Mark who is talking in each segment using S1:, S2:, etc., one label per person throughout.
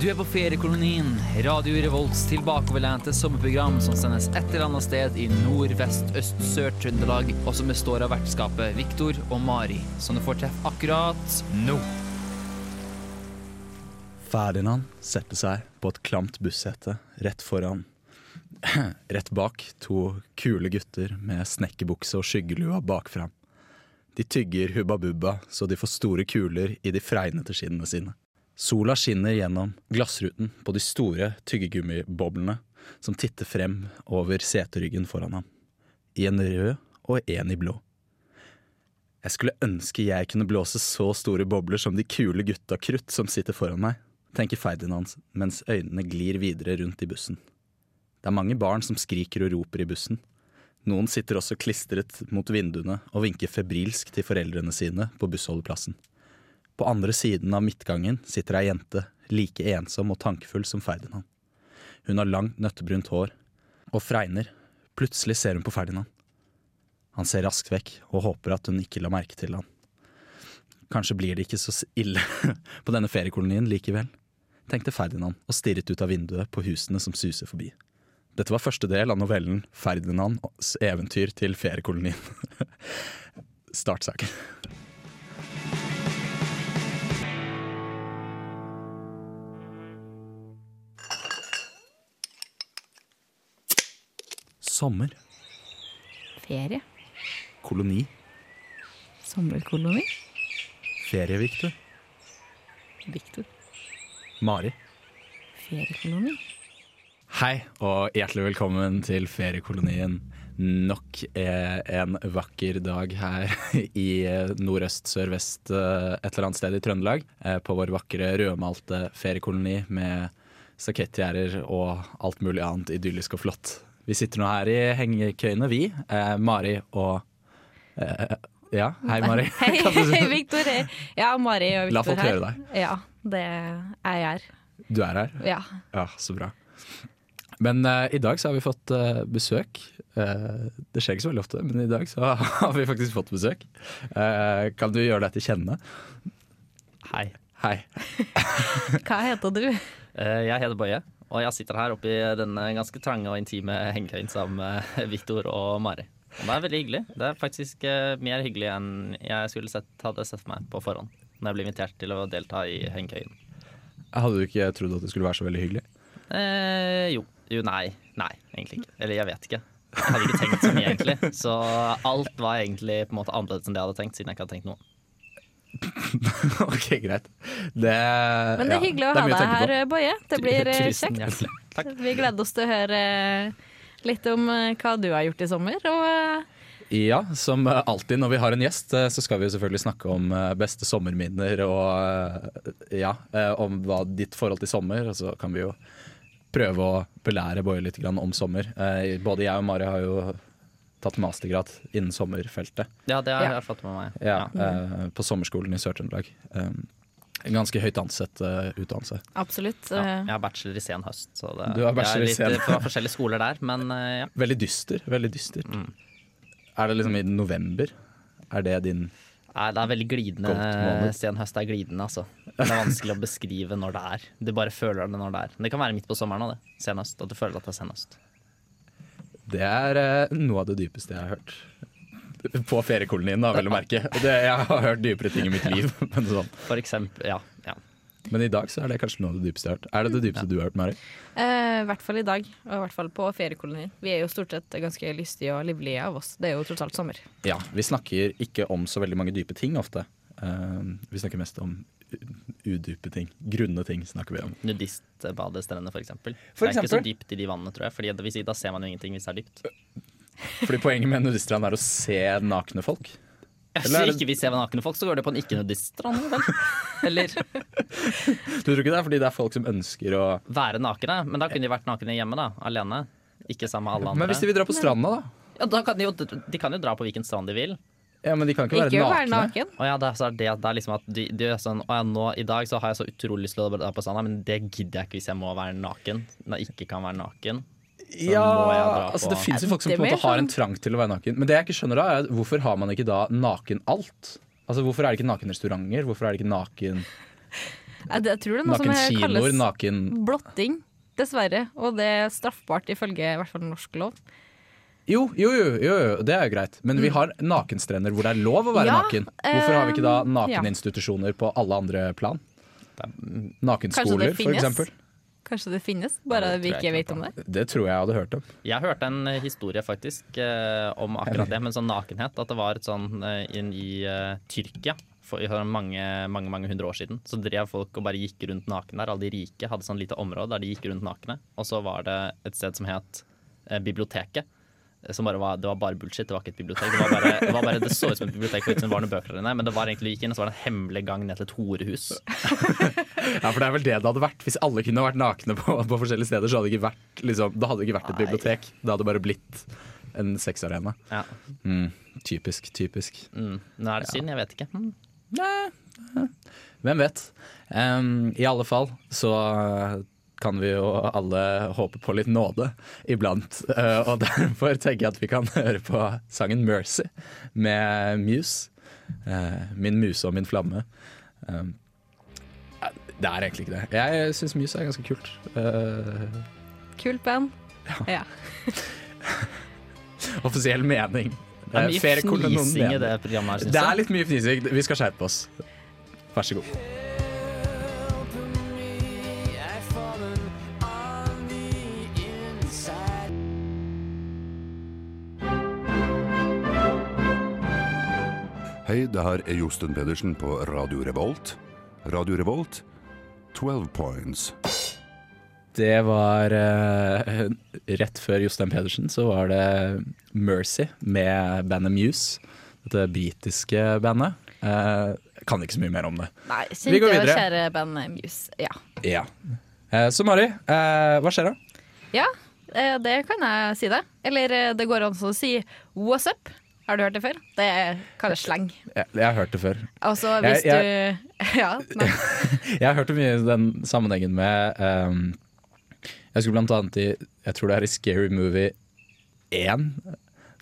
S1: Du er på feriekolonien, Radio Revolts tilbakeoverlente sommerprogram som sendes et eller annet sted i nord, vest, øst, sør Trøndelag, og som består av vertskapet Viktor og Mari, som du får treffe akkurat nå.
S2: Ferdinand setter seg på et klamt bussete rett foran Rett bak to kule gutter med snekkerbukse og skyggelua bakfram. De tygger Hubba Bubba så de får store kuler i de fregnete skinnene sine. Sola skinner gjennom glassruten på de store tyggegummiboblene som titter frem over seteryggen foran ham. I en rød og en i blå. Jeg skulle ønske jeg kunne blåse så store bobler som de kule gutta krutt som sitter foran meg, tenker Ferdinand mens øynene glir videre rundt i bussen. Det er mange barn som skriker og roper i bussen. Noen sitter også klistret mot vinduene og vinker febrilsk til foreldrene sine på bussholdeplassen. På andre siden av midtgangen sitter ei jente, like ensom og tankefull som Ferdinand. Hun har langt, nøttebrunt hår og fregner. Plutselig ser hun på Ferdinand. Han ser raskt vekk og håper at hun ikke la merke til han. Kanskje blir det ikke så ille på denne feriekolonien likevel, tenkte Ferdinand og stirret ut av vinduet på husene som suser forbi. Dette var første del av novellen 'Ferdinands eventyr til feriekolonien'. Start saken. Sommer.
S3: Ferie?
S2: Koloni.
S3: Sommerkoloni?
S2: Ferie, Victor.
S3: Viktor.
S2: Mari.
S3: Feriekoloni?
S2: Hei, og hjertelig velkommen til feriekolonien. Nok eh, en vakker dag her i eh, nordøst, sørvest, eh, et eller annet sted i Trøndelag. eh, På vår vakre rødmalte feriekoloni med stakettgjerder og alt mulig annet idyllisk og flott. Vi sitter nå her i hengekøyene, vi. eh, Mari og eh, Ja, hei, Mari.
S3: Hei,
S2: Kan du-
S3: hei, Viktor. Ja, Mari og Viktor her.
S2: La folk høre deg.
S3: Ja, det er jeg her.
S2: Du er her?
S3: Ja.
S2: Ja, så bra. Men eh, i dag så har vi fått eh, besøk. Eh, det skjer ikke så veldig ofte, men i dag så har vi faktisk fått besøk. Eh, kan du gjøre deg til kjenne?
S4: Hei.
S2: Hei.
S3: Hva heter du?
S4: Eh, Jeg heter Bøye, og jeg sitter her oppe i denne ganske trange og intime hengekøyen sammen med Viktor og Mari. Og det er veldig hyggelig. Det er faktisk eh, mer hyggelig enn jeg skulle sett, hadde sett for meg på forhånd. Når jeg ble invitert til å delta i hengekøyen.
S2: Hadde du ikke trodd at det skulle være så veldig hyggelig?
S4: Eh, jo. Jo, nei. Nei, egentlig ikke. Eller jeg vet ikke. Jeg hadde ikke tenkt så mye, egentlig. Så alt var egentlig på en måte annerledes enn det jeg hadde tenkt, siden jeg ikke hadde tenkt noe.
S2: ok, greit. Det,
S3: Men det er
S2: ja,
S3: hyggelig å
S2: det
S3: ha
S2: mye
S3: deg
S2: tenke på.
S3: her, Boje. Det blir eh,
S2: Tusen
S3: kjekt.
S2: hjertelig.
S3: Vi gleder oss til å høre eh, litt om eh, hva du har gjort i sommer. Og eh,
S2: Ja, som eh, alltid når vi har en gjest, eh, så skal vi jo selvfølgelig snakke om eh, beste sommerminner og eh, ja, eh, om hva ditt forhold til sommer, og så kan vi jo prøve å belære Boje litt grann om sommer. Eh, Både jeg og Mari har jo tatt mastergrad innen sommerfeltet
S4: Ja, det har
S3: Ja.
S4: jeg fått med meg.
S2: ja, eh, på sommerskolen i Sør-Trøndelag. Eh, En ganske høyt ansett eh, utdannelse.
S3: absolutt.
S4: Ja,
S3: eh,
S4: jeg har bachelor i sen høst, så det,
S2: Du har bachelor i
S4: jeg er
S2: sen.
S4: litt eh, fra forskjellige skoler der, men eh, ja.
S2: Veldig dyster, veldig dyster. Er det liksom i november? Er det din
S4: Nei, Det er veldig glidende.
S2: Godt måned.
S4: Sen høst er glidende, altså. Det er vanskelig å beskrive når det er. Du bare føler det når det er. Det kan være midt på sommeren òg, det. Sen høst. At du føler at det er sen høst.
S2: Det er eh, noe av det dypeste jeg har hørt. På feriekolonien, da, vel å merke. Det, jeg har hørt dypere ting i mitt liv. Men, sånn.
S4: For eksempel. Ja. ja.
S2: men i dag så er det kanskje noe av det dypeste jeg har hørt. Er det det dypeste du har hørt, Mari?
S3: eh, I hvert fall i dag, og i hvert fall på feriekolonier. Vi er jo stort sett ganske lystige og livlige av oss. Det er jo tross alt sommer.
S2: Ja. Vi snakker ikke om så veldig mange dype ting ofte. Eh, vi snakker mest om u- udype ting. Grunne ting snakker vi om.
S4: Nudistbadestrender, for eksempel.
S2: For
S4: Det er ikke så
S2: eksempel?
S4: dypt i de vannene, tror jeg. Fordi det vil si, da ser man jo ingenting hvis det er dypt.
S2: Fordi poenget med nudistland er å se nakne folk.
S4: Hvis
S2: Eller er det-
S4: ikke vi ser nakne folk, så går det på en ikke-nudiststrand, vel? Eller
S2: Du tror ikke det er fordi det er folk som ønsker å
S4: være nakne. Men da kunne de vært nakne hjemme, da. Alene. Ikke sammen med alle andre.
S2: Men hvis de vil dra på stranda, da?
S4: Ja, da kan de, jo, de kan jo dra på hvilken strand de vil.
S2: Ja, men de kan ikke,
S3: Ikke å
S2: være
S3: være
S2: nakne.
S3: naken.
S4: Og ja, det, er- så er det, det er liksom at de, de er sånn Å ja, nå i dag så har jeg så utrolig lyst til å dra på stranda, men det gidder jeg ikke hvis jeg må være naken. Når jeg ikke kan være naken.
S2: Ja,
S4: må jeg dra
S2: altså
S4: på-
S2: Det fins jo folk som
S3: Det
S2: på en
S3: blir
S2: måte har en
S3: sånn-
S2: trang til å være naken. Men det jeg ikke skjønner da er hvorfor har man ikke da naken alt? Altså Hvorfor er det ikke nakenrestauranter? Hvorfor er det ikke naken
S3: Jeg, jeg tror det er noe
S2: Naken
S3: som
S2: kinoer,
S3: kalles
S2: naken
S3: blotting, dessverre. Og det er straffbart ifølge i hvert fall norsk lov.
S2: Jo, jo, jo, jo, jo, det er jo greit. Men vi har nakenstrender hvor det er lov å være
S3: Mm. Ja,
S2: naken. Hvorfor har vi ikke da
S3: ehm, ja.
S2: nakeninstitusjoner på alle andre plan?
S3: Kanskje det
S2: Nakenskoler, for
S3: finnes?
S2: eksempel.
S3: Kanskje det finnes, bare
S4: Ja, det
S3: vi
S4: tror jeg
S3: ikke
S4: ikke
S3: vet om det.
S2: Det tror jeg jeg hadde hørt om.
S4: Jeg hørte en eh, historie faktisk eh, om akkurat det, men sånn nakenhet. At det var et sånn eh, inn i eh, Tyrkia for i sånn mange, mange mange hundre år siden. Så drev folk og bare gikk rundt nakne der. Alle de rike hadde sånn lite område der de gikk rundt nakne. Og så var det et sted som het eh, Biblioteket. eh, Som bare var, det var bare bullshit, det var ikke et bibliotek. Det, var bare, det, var bare, det så ut som et bibliotek, for det var noen bøker der inne, men det var egentlig du gikk inn, og så var det en hemmelig gang ned til et horehus.
S2: Ja, for det er vel det det hadde vært. Hvis alle kunne vært nakne på, på forskjellige steder, så hadde det ikke vært, liksom, det hadde ikke vært et
S4: Nei.
S2: bibliotek. Det hadde bare blitt en sexarena.
S4: Ja.
S2: Mm, typisk, typisk.
S4: Mm. Nå er det synd, jeg vet ikke. Mm.
S2: Hvem vet? Em, I alle fall så eh, kan vi jo alle håpe på litt nåde iblant. Eh, og derfor tenker jeg at vi kan høre på sangen 'Mercy' med Muse. Eh, min muse og min flamme. Em, eh, det er egentlig ikke det. Jeg syns Muse er ganske kult. Eh,
S3: Kult band. Ja.
S2: offisiell mening.
S4: Det er
S2: Eh,
S4: mye
S2: fair hvordan noen
S4: fnising
S2: mener.
S4: i det programmet her, syns
S2: Det er
S4: jeg.
S2: litt mye fnising. Vi skal skjerpe oss. Vær så god.
S5: Hei, det her er Josten Pedersen på Radio Revolt. Radio Revolt, 12 points.
S2: Det var eh, Rett før Jostein Pedersen så var det Mercy med bandet Muse. Dette britiske bandet. Eh, kan ikke så mye mer om det.
S3: Nei,
S2: Vi går
S3: kjente og
S2: videre.
S3: kjære band eh, Muse. Ja.
S2: Ja. Eh, så Mari, eh, hva skjer da?
S3: ja, eh, det kan jeg si det. Eller eh, det går an å si what's up. Har du hørt det før? Det kalles sleng.
S2: Jeg, jeg har hørt det før.
S3: Altså hvis
S2: Jeg- jeg-
S3: du Ja. Nei.
S2: Jeg har hørt det mye i den sammenhengen med ehm, Jeg skulle blant annet i Jeg tror det er i Scary Movie 1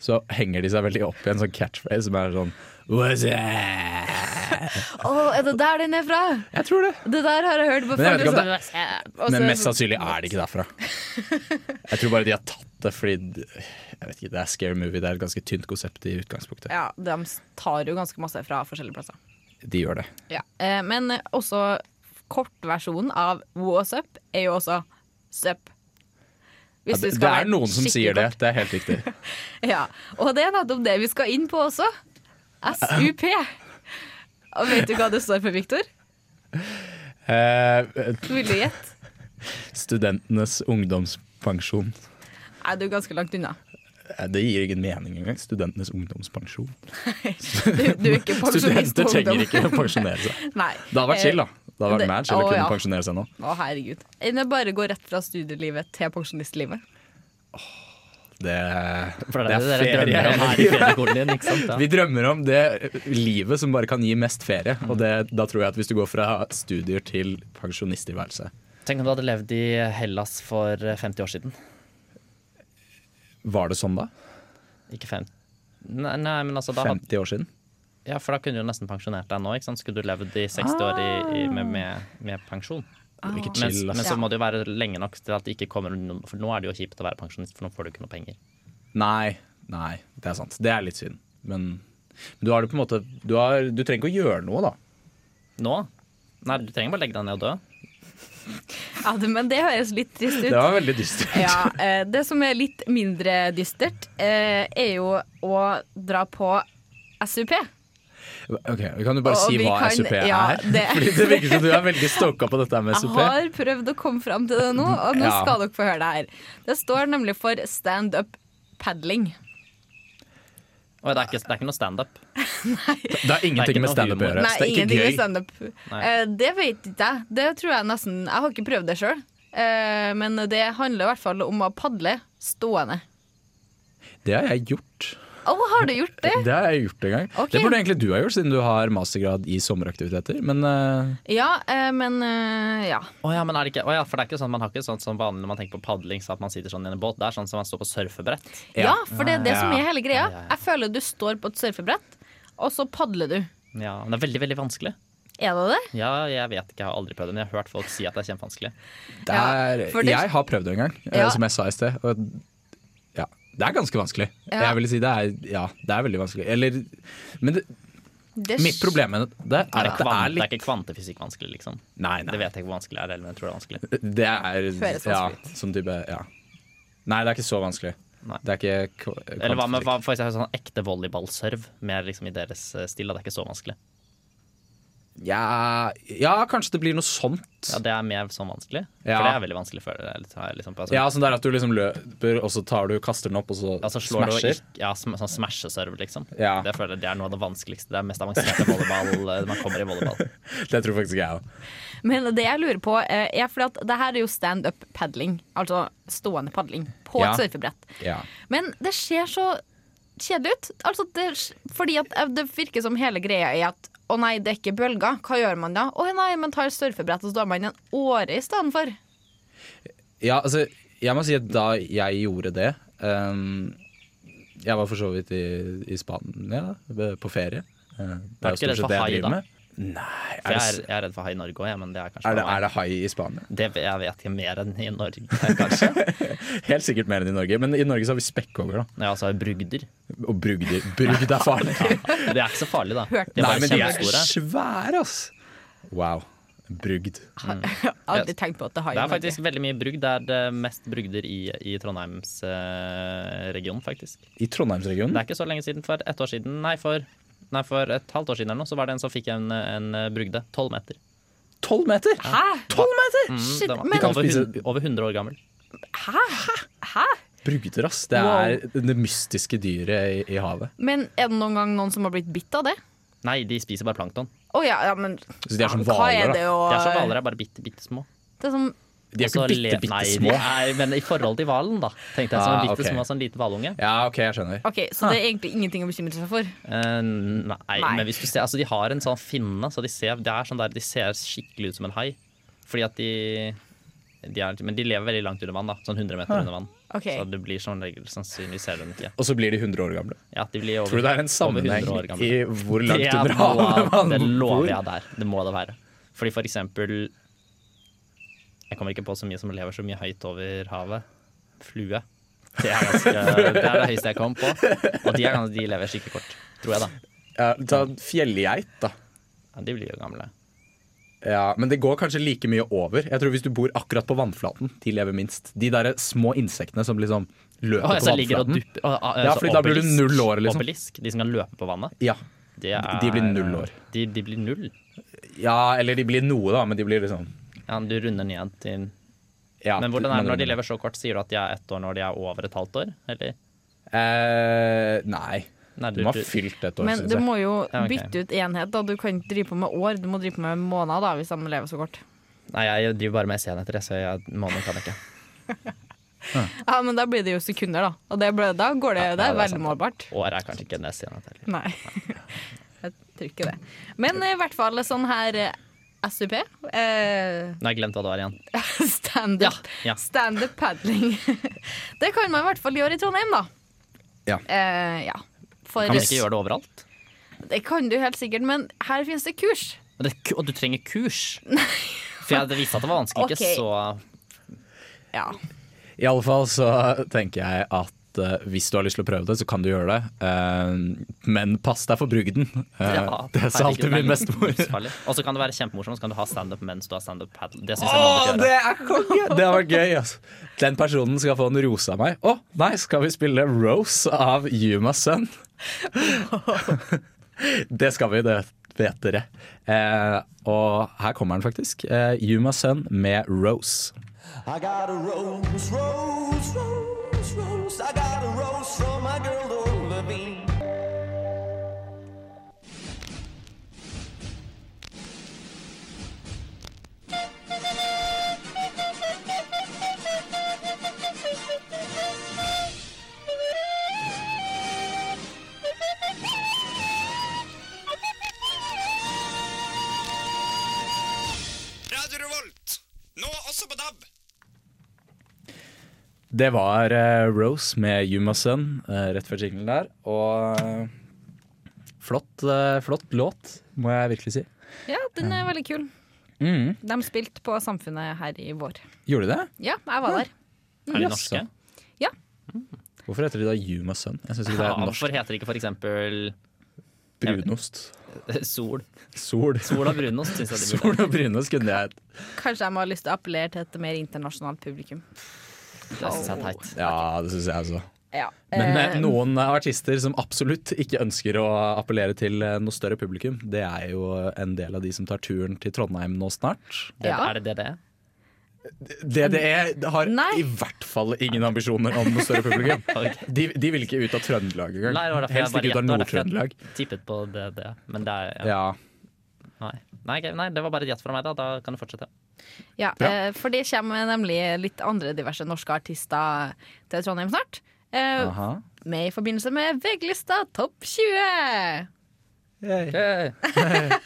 S2: Så henger de seg veldig opp i en sånn catchphrase som er sånn What's that?
S3: Å, er det der den er fra?
S2: Jeg tror det.
S3: Det der har jeg hørt på
S2: Men jeg
S3: før.
S2: vet ikke om
S3: liksom. Og så- sånn-
S2: Men mest sannsynlig er det ikke derfra. Jeg tror bare de har tatt det fordi Jeg vet ikke, det er Scary Movie. Det er et ganske tynt konsept i utgangspunktet.
S3: Ja, de tar jo ganske masse fra forskjellige plasser.
S2: De gjør det.
S3: Eh, men også kortversjonen av what's up er jo også sup.
S2: Ja,
S3: Hvis
S2: det,
S3: du skal
S2: det
S3: være
S2: er noen som
S3: skikkelig
S2: sier det. Det er helt riktig.
S3: Ja, og det er nettopp det vi skal inn på også. SUP. Og vet du hva det står for, Viktor?
S2: Eh,
S3: Vil du gjette?
S2: studentenes ungdomspensjon.
S3: Nei, du er ganske langt unna.
S2: Eh, Det gir ingen mening engang. Studentenes ungdomspensjon.
S3: Du, du er ikke pensjonist
S2: Studenter
S3: på
S2: trenger
S3: ungdom.
S2: ikke å pensjonere seg.
S3: Nei.
S2: Det hadde vært chill, da. Det hadde
S3: det-
S2: vært mer chill å
S3: å,
S2: kunne
S3: ja.
S2: pensjonere seg nå.
S3: Å, herregud. Enn å bare gå rett fra studielivet til pensjonistlivet.
S2: Det,
S4: For
S2: det
S4: det er det
S2: er
S4: dere
S2: ferie.
S4: drømmer om her i feriekolen din, ikke sant? Ja.
S2: Vi drømmer om det livet som bare kan gi mest ferie. Og det, da tror jeg at hvis du går fra studier til pensjonisttilværelse
S4: Tenk om du hadde levd i Hellas for 50 år siden.
S2: Var det sånn da?
S4: Ikke 50 Nei, nei men altså da, had-
S2: 50 år siden?
S4: ja, for da kunne du nesten pensjonert deg nå. ikke sant? Skulle du levd i 60 år i, i, med, med, med pensjon.
S2: Ah. Ikke
S4: Men,
S2: chill,
S4: men
S2: ass.
S4: så må det jo være lenge nok til at det ikke kommer noen- For nå er det jo kjipt å være pensjonist, for nå får du ikke noe penger.
S2: Nei, nei, det er sant. Det er litt synd. Men, men du har det på en måte du, har, du trenger ikke å gjøre noe, da.
S4: Nå? Nei, du trenger bare legge deg ned og dø.
S3: Ja, det- men det høres litt trist ut.
S2: Det var veldig dystert.
S3: Ja, eh, det som er litt mindre dystert, eh, er jo å dra på SUP.
S2: Ok, vi Kan du bare
S3: Og- og
S2: si
S3: vi
S2: hva
S3: kan-
S2: SUP
S3: ja,
S2: er?
S3: det-
S2: Fordi det virker som du er veldig stoka på dette med
S3: Jeg
S2: SUP.
S3: har prøvd å komme fram til det nå, og nå
S2: Ja.
S3: skal dere få høre det her. Det står nemlig for stand up paddling.
S4: Og det er ikke, det er ikke noe standup.
S2: Det har
S4: Det er ikke
S2: ingenting med
S4: noe
S2: standup å
S4: humor.
S2: gjøre.
S3: Nei,
S2: så det er
S3: ingenting med
S2: ikke gøy.
S3: standup.
S4: Nei.
S3: Eh, det vet ikke jeg. Det tror jeg nesten Jeg har ikke prøvd det sjøl. Eh, men det handler i hvert fall om å padle stående.
S2: Det har jeg gjort.
S3: Å, har du gjort det?
S2: Det har jeg gjort en gang.
S3: Ok.
S2: Det burde egentlig du ha gjort, siden du har mastergrad i sommeraktiviteter. Men eh,
S3: Ja, eh, men eh, Ja.
S4: Å ja, men er det ikke, å ja, for det er ikke sånn, man har ikke sånn som vanlig når man tenker på padling, så at man sitter sånn i en båt. Det er sånn som man står på surfebrett.
S2: Ja.
S3: Ja, for det er det
S2: Ja.
S3: som er hele greia.
S4: ja, ja.
S3: Jeg føler du står på et surfebrett, og så padler du.
S4: Ja, men det er veldig, veldig vanskelig.
S3: Er det det?
S4: Ja, jeg vet ikke, jeg har aldri prøvd det, men jeg har hørt folk si at det er kjempevanskelig.
S2: Det
S3: Ja,
S2: er,
S3: for det-
S2: jeg har prøvd det en gang, eh,
S3: Ja.
S2: som jeg sa i sted. Og ja, det er ganske vanskelig.
S3: Ja.
S2: Jeg vil si det er, ja, det er veldig vanskelig. Eller, men det,
S3: det
S2: mitt problem med det er
S4: Det er,
S2: at det er
S4: kvan- det er
S2: litt
S4: ikke kvantefysikk vanskelig, liksom.
S2: Nei, nei.
S4: Det vet jeg ikke hvor vanskelig det er, eller, men jeg tror det er vanskelig.
S2: Det er
S3: Føles
S2: ja,
S3: vanskelig
S2: som type ja. Nei, det er ikke så vanskelig.
S4: Nei.
S2: Det er ikke kva-
S4: Eller hva med
S2: kvantifisering.
S4: hva, for eksempel, sånn ekte volleyballserv, mer liksom i deres eh, stil, da. det er ikke så vanskelig.
S2: ja, ja, kanskje det blir noe sånt.
S4: Ja, Det er mer sånn vanskelig,
S2: Ja.
S4: for det er veldig vanskelig før det er litt, har jeg liksom, på- altså,
S2: Ja, sånn der at du liksom løper, og så tar du, kaster den opp, og så
S4: altså, slår du og
S2: smasher.
S4: ikke, ja, sm sånn smasheserv, liksom.
S2: Ja.
S4: Det, føler jeg, det er noe av det vanskeligste, det er mest avanserte volleyball eh, man kommer i volleyball.
S2: Det tror faktisk ikke jeg òg.
S3: Men det jeg lurer på, eh, er fordi at det her er jo standup padling. Altså stående padling på
S2: Ja.
S3: et surfebrett.
S2: Ja.
S3: Men det ser så kjedelig ut. Altså, det, fordi at eh, det virker som hele greia er at å nei, det er ikke bølger. Hva gjør man da? Å nei, man tar surfebrett, og så står man i en åre i stedet for.
S2: ja, altså, jeg må si at da jeg gjorde det ehm, Jeg var for så vidt i, i Spania, da, på ferie. Eh, Det
S4: Er du ikke redd for hai, da?
S2: Nei,
S4: For
S2: er det,
S4: jeg er,
S2: s-
S4: jeg er redd for hai i Norge òg, men det er kanskje
S2: er det,
S4: bare meg.
S2: er det hai i Spania?
S4: Det jeg vet ikke mer enn i Norge, kanskje.
S2: Helt sikkert mer enn i Norge, men i Norge så har vi spekkhoggere. da.
S4: Ja, altså brugder.
S2: Og brugder. Brugd er farlig.
S4: Det er ikke så farlig, da.
S3: Hørt.
S4: De er
S2: Nei,
S4: bare
S2: men de er
S4: kjempestore.
S2: svære, ass. Wow. Brugd.
S3: Aldri tenkt på at det har
S4: Det
S3: jo
S4: er faktisk veldig mye brugd. Det er det mest brugder i, i Trondheimsregionen, faktisk.
S2: I
S4: Det
S2: Trondheimsregionen?
S4: er ikke så lenge siden. For ett år siden, nei, for, nei, for et halvt år siden eller noe, så var det en som fikk en, en brugde. Tolv meter.
S2: Tolv meter!
S3: Hæ?
S2: Tolv meter!
S4: Mm,
S3: Shit,
S4: den var
S3: men- De kan
S4: over,
S2: spise-
S4: hun- over 100 år gammel.
S3: Hæ? Hæ?
S2: Brugder, ass. Det er det mystiske dyret i, i havet.
S3: Men er det noen gang noen som har blitt bitt av det?
S4: Nei, de spiser bare plankton.
S3: Å ja, ja, men
S2: Så de er som
S3: hva
S2: hvaler,
S3: er
S2: da.
S3: det å
S4: De er som hvaler, er bare bitte, bitte små.
S3: Det er som
S2: De er jo ikke
S4: Og så
S2: bitte,
S4: le-
S2: bitte
S4: nei, de
S2: små.
S4: er- men i forhold til hvalen, da. Tenkte jeg som
S2: Ah,
S4: en bitte
S2: ok.
S4: små, sånn liten hvalunge.
S2: Ja, OK, jeg skjønner.
S3: OK, så det er egentlig ingenting å bekymre seg for.
S4: Eh, nei,
S3: Nei.
S4: men hvis du ser, altså de har en sånn finne, så de ser, det er sånn der, de ser skikkelig ut som en hai. Fordi at de, de er, Men de lever veldig langt under vann, da. Sånn 100 meter under vann.
S3: Ok.
S4: Så det blir som regel sannsynligvis ser du den ikke.
S2: Og så blir de 100 år gamle.
S4: Ja, at de blir over,
S2: Tror du det er en
S4: over 100
S2: sammenheng
S4: år gamle.
S2: i hvor
S4: Det
S2: langt
S4: er
S2: under
S4: noe av-
S2: havet
S4: Det
S2: man
S4: lover jeg
S2: bor?
S4: der. Det må det være. Fordi for eksempel Jeg kommer ikke på så mye som lever så mye høyt over havet. Flue. Det er, ganske, det er det høyeste jeg kom på. Og de, er, gans- de lever skikkelig kort, tror jeg, da.
S2: Ja, ta fjellgeit, da.
S4: Ja, de blir jo gamle.
S2: Ja, Men det går kanskje like mye over. Jeg tror Hvis du bor akkurat på vannflaten, de lever minst. De derre små insektene som liksom løper
S4: Å,
S2: på
S4: altså, ligger og
S2: vannflaten.
S4: dupper, å, å,
S2: Ja,
S4: altså,
S2: fordi da blir du
S4: obelisk-
S2: null år, liksom.
S4: Obelisk, de som kan løpe på vannet.
S2: Ja.
S4: det er,
S2: De blir null år.
S4: De, de blir null.
S2: ja, eller de blir noe, da, men de blir liksom
S4: Ja, du runder ned igjen til
S2: ja,
S4: Men hvordan er
S2: man-
S4: det når de lever så kort? Sier du at de er ett år når de er over et halvt år? Eller?
S2: Eh, nei.
S4: Nei,
S2: De
S4: du-
S2: har
S4: du-
S2: fylt et år,
S3: Men
S2: syns
S3: du
S2: jeg.
S3: må jo
S4: Ja, ok.
S3: bytte ut enhet. da Du kan ikke drive på med år, du må drive på med måneder da, hvis de lever så kort.
S4: Nei, jeg driver bare med senheter, jeg, så jeg, måneden kan jeg ikke.
S3: Ja, Men da blir det jo sekunder, da. Og det ble, da går det, det
S4: Ja, ja,
S3: er
S4: det er
S3: veldig
S4: sant.
S3: målbart.
S4: Året er kanskje ikke en senhet heller.
S3: Nei. Jeg tror ikke det. Men i hvert fall sånn her eh, SUP. Eh,
S4: Nå har jeg glemt hva det var igjen.
S3: Standup
S4: Ja.
S3: stand paddling. Det kan man i hvert fall gjøre i Trondheim, da.
S2: Ja.
S3: Eh, ja. For
S4: Kan man ikke gjøre det overalt?
S3: Det kan du helt sikkert, men her finnes det kurs.
S4: Og, det, og du trenger kurs! For jeg visste at det var vanskelig,
S3: Ok.
S4: ikke så
S3: Ja.
S2: I alle fall så tenker jeg at eh, hvis du har lyst til å prøve det, så kan du gjøre det. Eh, men pass deg for brugden. Eh,
S4: Ja,
S2: det sa alltid
S4: herregud,
S2: min
S4: det er
S2: bestemor.
S4: livsfarlig. Og så kan det være kjempemorsomt, så kan du ha standup mens du har standup paddle. Det syns jeg
S2: Å,
S4: man burde
S2: det
S4: gjøre.
S2: er konge! Det hadde vært gøy. Altså. Den personen skal få en rose av meg. Å, nei, skal vi spille Rose av Yumas sønn? det skal vi, det vet dere. Eh, og her kommer den faktisk. Eh, Yumas sønn med Rose.
S6: I got a rose, rose, rose, rose. I got a rose from my girl Laura Levine.
S7: Radio Revolt, nå også på DAB.
S2: Det var eh, Rose med Yumas sønn eh, rett før jinglen der. Og eh, flott, eh, flått låt, må jeg virkelig si.
S3: ja, den er veldig kul.
S2: Mm.
S3: De spilte på Samfunnet her i vår. Mm.
S2: Gjorde de det?
S3: Ja, jeg var der.
S4: Er de
S2: Jaså.
S4: norske?
S2: Hvorfor heter de da Yuma Sun? Jeg syns ikke det er
S4: Ja,
S2: et norsk
S4: hvorfor heter det ikke for eksempel eh,
S2: brunost.
S4: Sol?
S2: Sol.
S4: Sol og brunost, syns jeg de burde.
S2: Sol og brunost kunne jeg hett.
S3: Kanskje de har lyst til å appellere til et mer internasjonalt publikum.
S4: Det syns jeg er teit.
S2: Ja, det syns jeg også.
S3: Ja.
S2: Men eh,
S3: eh,
S2: noen artister som absolutt ikke ønsker å appellere til eh, noe større publikum, det er jo en del av de som tar turen til Trondheim nå snart.
S4: Det,
S3: Ja.
S4: Er det det det er?
S2: DDE har
S3: Nei.
S2: i hvert fall ingen ambisjoner om noe større publikum.
S4: Ok.
S2: De, de vil ikke ut av Trøndelag
S4: Nei, det var
S2: engang.
S4: derfor jeg
S2: Helst
S4: bare
S2: ikke ut av
S4: gjettet, det var derfor jeg-
S2: Nord-Trøndelag.
S4: Tippet på det, det. Men det er ja.
S2: Ja.
S4: Nei. Nei, ok, nei, det var bare et gjett fra meg, da. Da kan du fortsette.
S3: ja, eh, for det kommer nemlig litt andre diverse norske artister til Trondheim snart. Eh,
S2: Aha.
S3: med i forbindelse med VG-lista Topp 20.
S2: Har du
S3: Jeg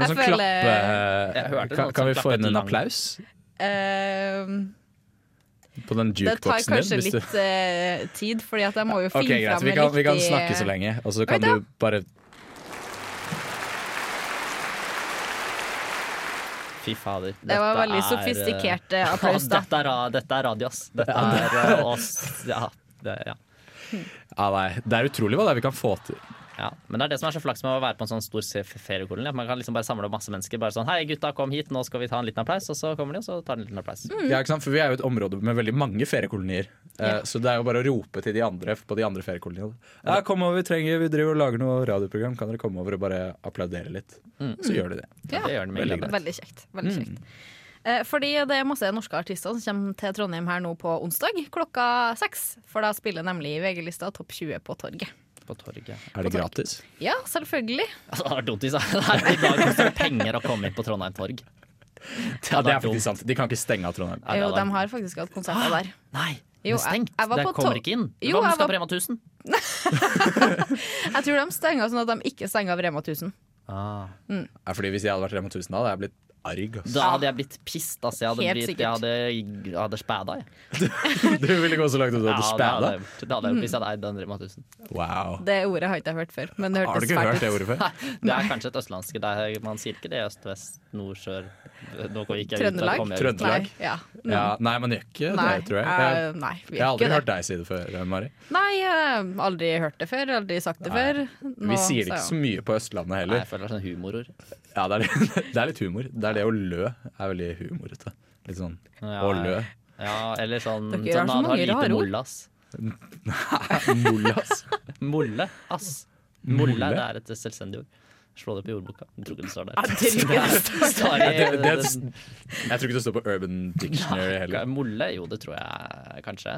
S2: sånn
S3: føler-
S4: Jeg
S2: klappe... Kan,
S4: hørte noen
S2: kan vi
S4: som
S2: få
S4: klappet
S2: inn en
S4: lang-
S2: applaus
S3: Eh,
S2: på den
S3: det tar
S2: jukeboksen
S3: kanskje
S2: din? hvis du-
S3: litt eh, tid, fordi at jeg må jo finne
S2: Ok, greit.
S3: fram
S2: Vi kan,
S3: en
S2: vi kan
S3: riktig- eh,
S2: snakke så lenge, og så
S3: Oi
S2: kan
S3: da.
S2: du bare
S4: Fy fader.
S3: Det var
S4: Dette
S3: veldig
S4: er, eh,
S3: sofistikert eh,
S4: Applaus,
S3: applaus, da.
S4: dette, er, ra- dette er radio, ass. Dette er eh, oss. Ja, det, ja.
S2: Ja, nei. Det er utrolig hva det er vi kan få til.
S4: ja. Men det er det som er så flaks med å være på en sånn stor se- feriekoloni. At man kan liksom bare samle opp masse mennesker. Bare sånn Hei, gutta, kom hit, nå skal vi ta en liten applaus. Og så kommer de, og så tar de en liten applaus.
S2: Ja, ikke sant? For vi er jo et område med veldig mange feriekolonier. Eh, Så det er jo bare å rope til de andre på de andre feriekoloniene. Ja, kom over, vi trenger Vi driver og lager noe radioprogram, kan dere komme over og bare applaudere litt?
S3: Mm.
S2: Så gjør de det.
S3: Ja,
S4: Det gjør
S2: veldig
S4: de veldig
S2: greit. Mm.
S4: greit.
S3: Veldig kjekt. Veldig kjekt. Eh, Fordi det er masse norske artister som kommer til Trondheim her nå på onsdag klokka seks. For da spiller nemlig VG-lista Topp 20 på torget.
S4: På torget.
S2: Er det gratis?
S3: Ja, selvfølgelig.
S4: Altså, det hadde vært dumt hvis det hadde- i dag koster det penger å komme inn på Trondheim torg.
S2: Ja, det
S4: hadde
S2: er
S4: vært dumt.
S2: faktisk sant. De kan ikke stenge av Trondheim.
S4: Ja, det
S3: Jo,
S4: hadde
S3: de
S4: vært-
S3: har faktisk hatt konserter der.
S4: Nei, det
S3: Jo,
S4: er stengt.
S3: jeg- jeg var
S4: det
S3: på
S4: kommer
S3: to-
S4: ikke inn.
S3: Jo, jeg
S4: Hva om du skal
S3: var-
S4: på Rema 1000?
S3: Jeg tror de stenger sånn at de ikke stenger av Rema 1000.
S4: Ah.
S2: Ja, fordi Hvis jeg hadde vært Rema 1000 da, hadde jeg blitt arg. ass.
S4: Da hadde jeg blitt pissed, altså. Jeg hadde,
S3: Helt
S4: blitt, jeg
S3: sikkert.
S4: hadde, jeg hadde spæda, jeg.
S2: Du ville gå så langt at du hadde
S4: det hadde
S2: spæda?
S4: jeg gjort. Det hadde jeg gjort hvis jeg hadde eid den Rema 1000.
S2: Wow.
S3: Det ordet har ikke jeg hørt før. Men det
S2: Har du
S3: hørtes
S2: ikke hørt
S3: fælt
S2: det
S3: ut.
S2: ordet før?
S4: Det er kanskje et østlandsk der Man sier ikke det øst, vest, nord, sør Nå gikk jeg ut, da
S3: Trøndelag?
S4: kom jeg ut.
S2: Trøndelag.
S3: Nei, ja.
S2: Ja, nei, man gjør ikke
S3: Nei,
S2: det, tror jeg.
S3: eh,
S2: Jeg,
S3: nei, vi
S2: jeg har
S3: gjør
S2: aldri
S3: ikke
S2: hørt
S3: det.
S2: deg si det før, Mari.
S3: Nei, eh, aldri hørt det før. Aldri sagt det før.
S2: Vi sier det ikke
S3: så
S2: så mye på Østlandet
S4: Nei,
S2: heller.
S4: jeg føler det er sånn humorord.
S2: Ja, det er, det er litt humor. Det er det å lø er veldig humorete. Litt sånn
S4: Ja,
S2: å lø.
S4: Ja, eller sånn
S3: Dere har så
S4: han
S3: mange rare
S4: lite
S3: ord.
S4: molle, ass.
S2: Mollas.
S4: Molle, ass. Molle
S2: Molle?
S4: det er et selvstendig ord. Slå det opp i ordboka. Jeg tror ikke det står
S3: Ja,
S4: der.
S3: det tror ikke det
S4: Sorry.
S2: Det, det, jeg tror ikke det står på Urban Dictionary heller.
S4: Molle? Jo, det tror jeg kanskje.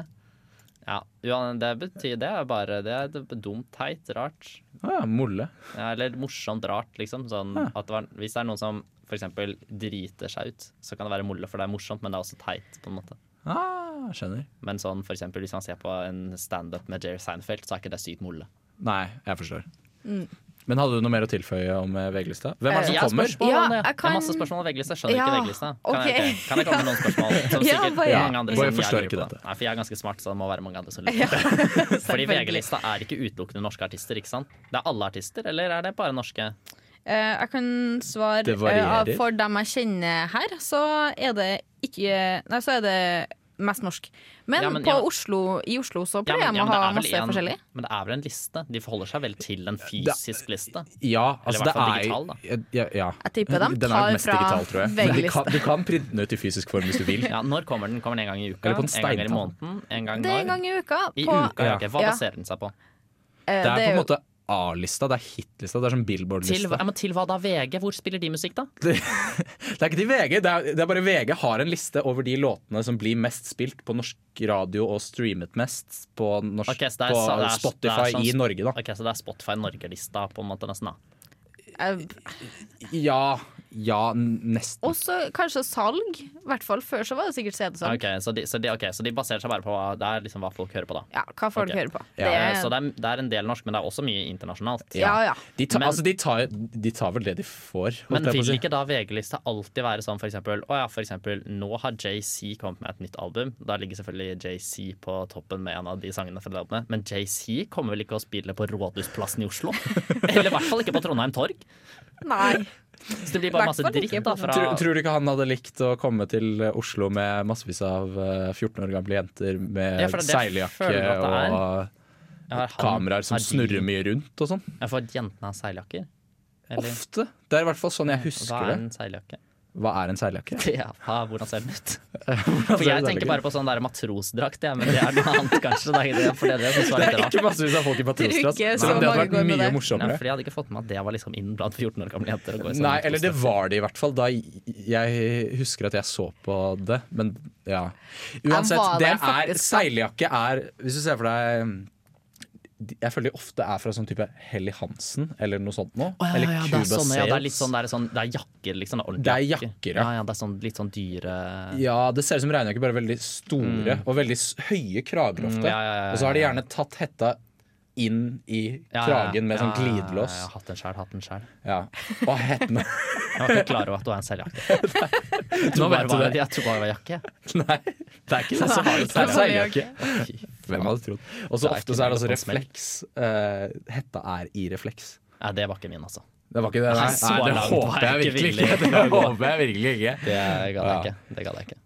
S4: Ja, uan- det betyr det er bare Det er dumt, teit, rart.
S2: Ah, molle.
S4: Ja, eller morsomt rart, liksom. Sånn, at det var, hvis det er noen som f.eks. driter seg ut, så kan det være molle, for det er morsomt, men det er også teit. på en måte.
S2: Ah, skjønner.
S4: Men sånn, for eksempel, hvis man ser på en standup med Jerry Seinfeld, så er ikke det sykt molle.
S2: Nei, jeg forstår.
S3: Mm.
S2: Men hadde du noe mer å tilføye om eh, VG-lista? Hvem er det som
S4: Jeg har
S2: kommer?
S4: spørsmål
S3: Ja,
S4: om det.
S3: jeg
S4: Jeg
S3: kan-
S4: har masse spørsmål om VG-lista. Jeg Skjønner
S3: Ja,
S4: ikke VG-lista. Kan, jeg
S3: ok.
S4: ikke- kan jeg komme med noen spørsmål? Som
S3: Ja,
S4: sikkert
S3: bare-
S4: mange andre
S2: Ja,
S4: som
S2: bare forstår
S4: lurer
S2: ikke
S4: på.
S2: dette.
S4: Nei, for jeg er ganske smart, så det må være mange andre som lurer. på det. Fordi VG-lista er ikke utelukkende norske artister, ikke sant? Det er alle artister, eller er det bare norske?
S3: Eh, jeg kan svare
S2: Det varierer.
S3: eh, for dem jeg kjenner her, så er det ikke Nei, så er det mest norsk. Men,
S4: Ja, men-
S3: på
S4: ja.
S3: Oslo, i Oslo så pleier
S4: men-
S3: de å
S4: men det
S3: ha
S4: er vel
S3: masse
S4: en-
S3: forskjellig.
S4: Men det er vel en liste? De forholder seg vel til en fysisk liste?
S2: Ja, altså
S4: Eller i hvert
S2: det
S4: fall
S2: er
S4: digital, da.
S2: Ja, ja.
S3: Jeg tipper de
S2: Den er
S3: tar
S2: jo mest
S3: fra
S2: digital, tror jeg. Men Du
S3: VG-lista.
S2: kan, du kan printe den ut i fysisk form hvis du vil.
S4: Ja, når kommer den? Kommer den en gang i uka?
S2: Eller på en
S4: en gang i
S2: steintavle.
S4: måneden? En gang
S3: Det er en
S4: når?
S3: gang i uka.
S4: I
S3: på,
S4: uka, ja.
S2: Ja.
S4: ok. Hva
S3: Ja.
S4: baserer den seg på?
S3: eh,
S2: Det er på en
S3: jo-
S2: måte A-lista, det er hitlista, det er sånn
S4: Til,
S2: Billboard-lista.
S4: ja, men til hva da? VG? Hvor spiller de musikk, da?
S2: Det, det er ikke til VG, det er, det er bare VG har en liste over de låtene som blir mest spilt på norsk radio og streamet mest på, norsk,
S4: Ok, så det er
S2: på
S4: så- det er-
S2: Spotify
S4: det er sånn-
S2: i Norge, da.
S4: Ok, Så det er Spotify Norge-lista, på en måte, nesten, da.
S3: eh,
S2: Ja, ja, n- nesten.
S3: også kanskje salg. I hvert fall før så var det sikkert CD-salg.
S4: Ah, Ok, så, de, så, de, ok, så de baserer seg bare på hva, det er liksom hva folk hører på, da.
S3: Ja, hva folk
S4: Ok.
S3: hører på.
S2: Ja,
S3: Det
S4: Eh,
S3: er,
S4: Så det er, det er en del norsk, men det er også mye internasjonalt.
S3: ja, ja.
S2: De, ta,
S4: Men-
S2: altså, de, tar, de tar vel det de får. holdt
S4: Men
S2: jeg på å
S4: vil
S2: si.
S4: ikke da VG-lista alltid være sånn for eksempel, å ja, for eksempel nå har JC kommet med et nytt album. Da ligger selvfølgelig JC på toppen med en av de sangene fra det albumet. Men JC kommer vel ikke å spille på Rådhusplassen i Oslo? Eller i hvert fall ikke på Trondheim Torg.
S3: Nei.
S4: Så det blir bare masse
S3: Hvertfall
S4: dritt
S3: ikke
S4: da
S3: på
S4: fra
S2: Tror, tror du ikke han hadde likt å komme til Oslo med massevis av eh, 14 år gamle jenter med
S4: Ja, for det er det jeg
S2: seiljakke
S4: føler at det
S2: og
S4: Ja, har han-
S2: kameraer som
S4: har de-
S2: snurrer mye rundt og sånn?
S4: Ja, for at jentene har seiljakker? Eller
S2: Ofte. Det er i hvert fall sånn jeg
S4: hva
S2: husker
S4: er
S2: det.
S4: en seiljakke?
S2: Hva er en seiljakke?
S4: Ja, hva- hvordan ser den ut? For jeg tenker bare på sånn der matrosdrakt, jeg, men det er noe annet, kanskje. Det er det, for det er det jeg synes var
S2: Det
S4: litt
S2: er
S4: rart.
S2: ikke massevis av folk i Patrosdras.
S3: Det er ikke så
S2: Men det hadde
S3: mange går
S2: vært
S3: med
S2: mye
S3: det.
S2: morsommere.
S4: Nei, for jeg hadde ikke fått med meg at det var liksom innen blant 14 år gamle jenter. Å gå i sånn
S2: Nei, eller det
S4: matrosdrakt.
S2: var det i hvert fall. Da jeg husker at jeg så på det, men ja. Uansett,
S3: var
S2: det
S3: der
S2: er
S3: faktisk, da.
S2: Seiljakke er Hvis du ser for deg mm, de- Jeg føler de ofte er fra sånn type Helly Hansen eller noe sånt noe.
S4: Å, ja,
S2: eller
S4: ja, det er
S2: Cuba
S4: sånne, ja, det er litt
S2: Sales.
S4: sånn, det er, sånn, det er jakker, liksom. Det er
S2: Det er
S4: ordentlige
S2: jakker, ja.
S4: ja. ja. Det er sånn litt sånn dyre
S2: Ja, det ser ut som regnjakker, bare veldig store og veldig s- høye krager ofte.
S4: Mm, ja, ja, ja, ja,
S2: Og så har de
S4: ja.
S2: gjerne tatt hetta inn i
S4: Ja,
S2: kragen med
S4: ja,
S2: sånn glidelås.
S4: Ja, ja, ja, hatt den sjæl, hatt den sjæl.
S2: Ja. Og hetten
S4: Jeg var ikke klar over at det var en seiljakke.
S2: Nå
S4: Jeg
S2: vet du
S4: bare-
S2: det.
S4: Jeg tror bare det var jakke.
S2: Nei, det er ikke det som har det
S3: Nei, det var det
S2: seiljakke. Hvem hadde trodd? Og
S4: Det
S2: så
S4: er
S2: ofte
S4: ikke
S2: så er det altså
S4: noe smell.
S2: refleks. Eh, hetta er i refleks.
S4: Nei, det var ikke min, altså.
S2: Det var ikke det, nei.
S4: Nei, så
S2: nei det
S4: langt
S2: håper
S4: var
S2: jeg
S4: jeg ikke
S2: virkelig
S4: villig.
S2: ikke. Det håper jeg virkelig ikke.
S4: Det gadd
S2: Ja.
S4: jeg ikke. Det gadd jeg ikke.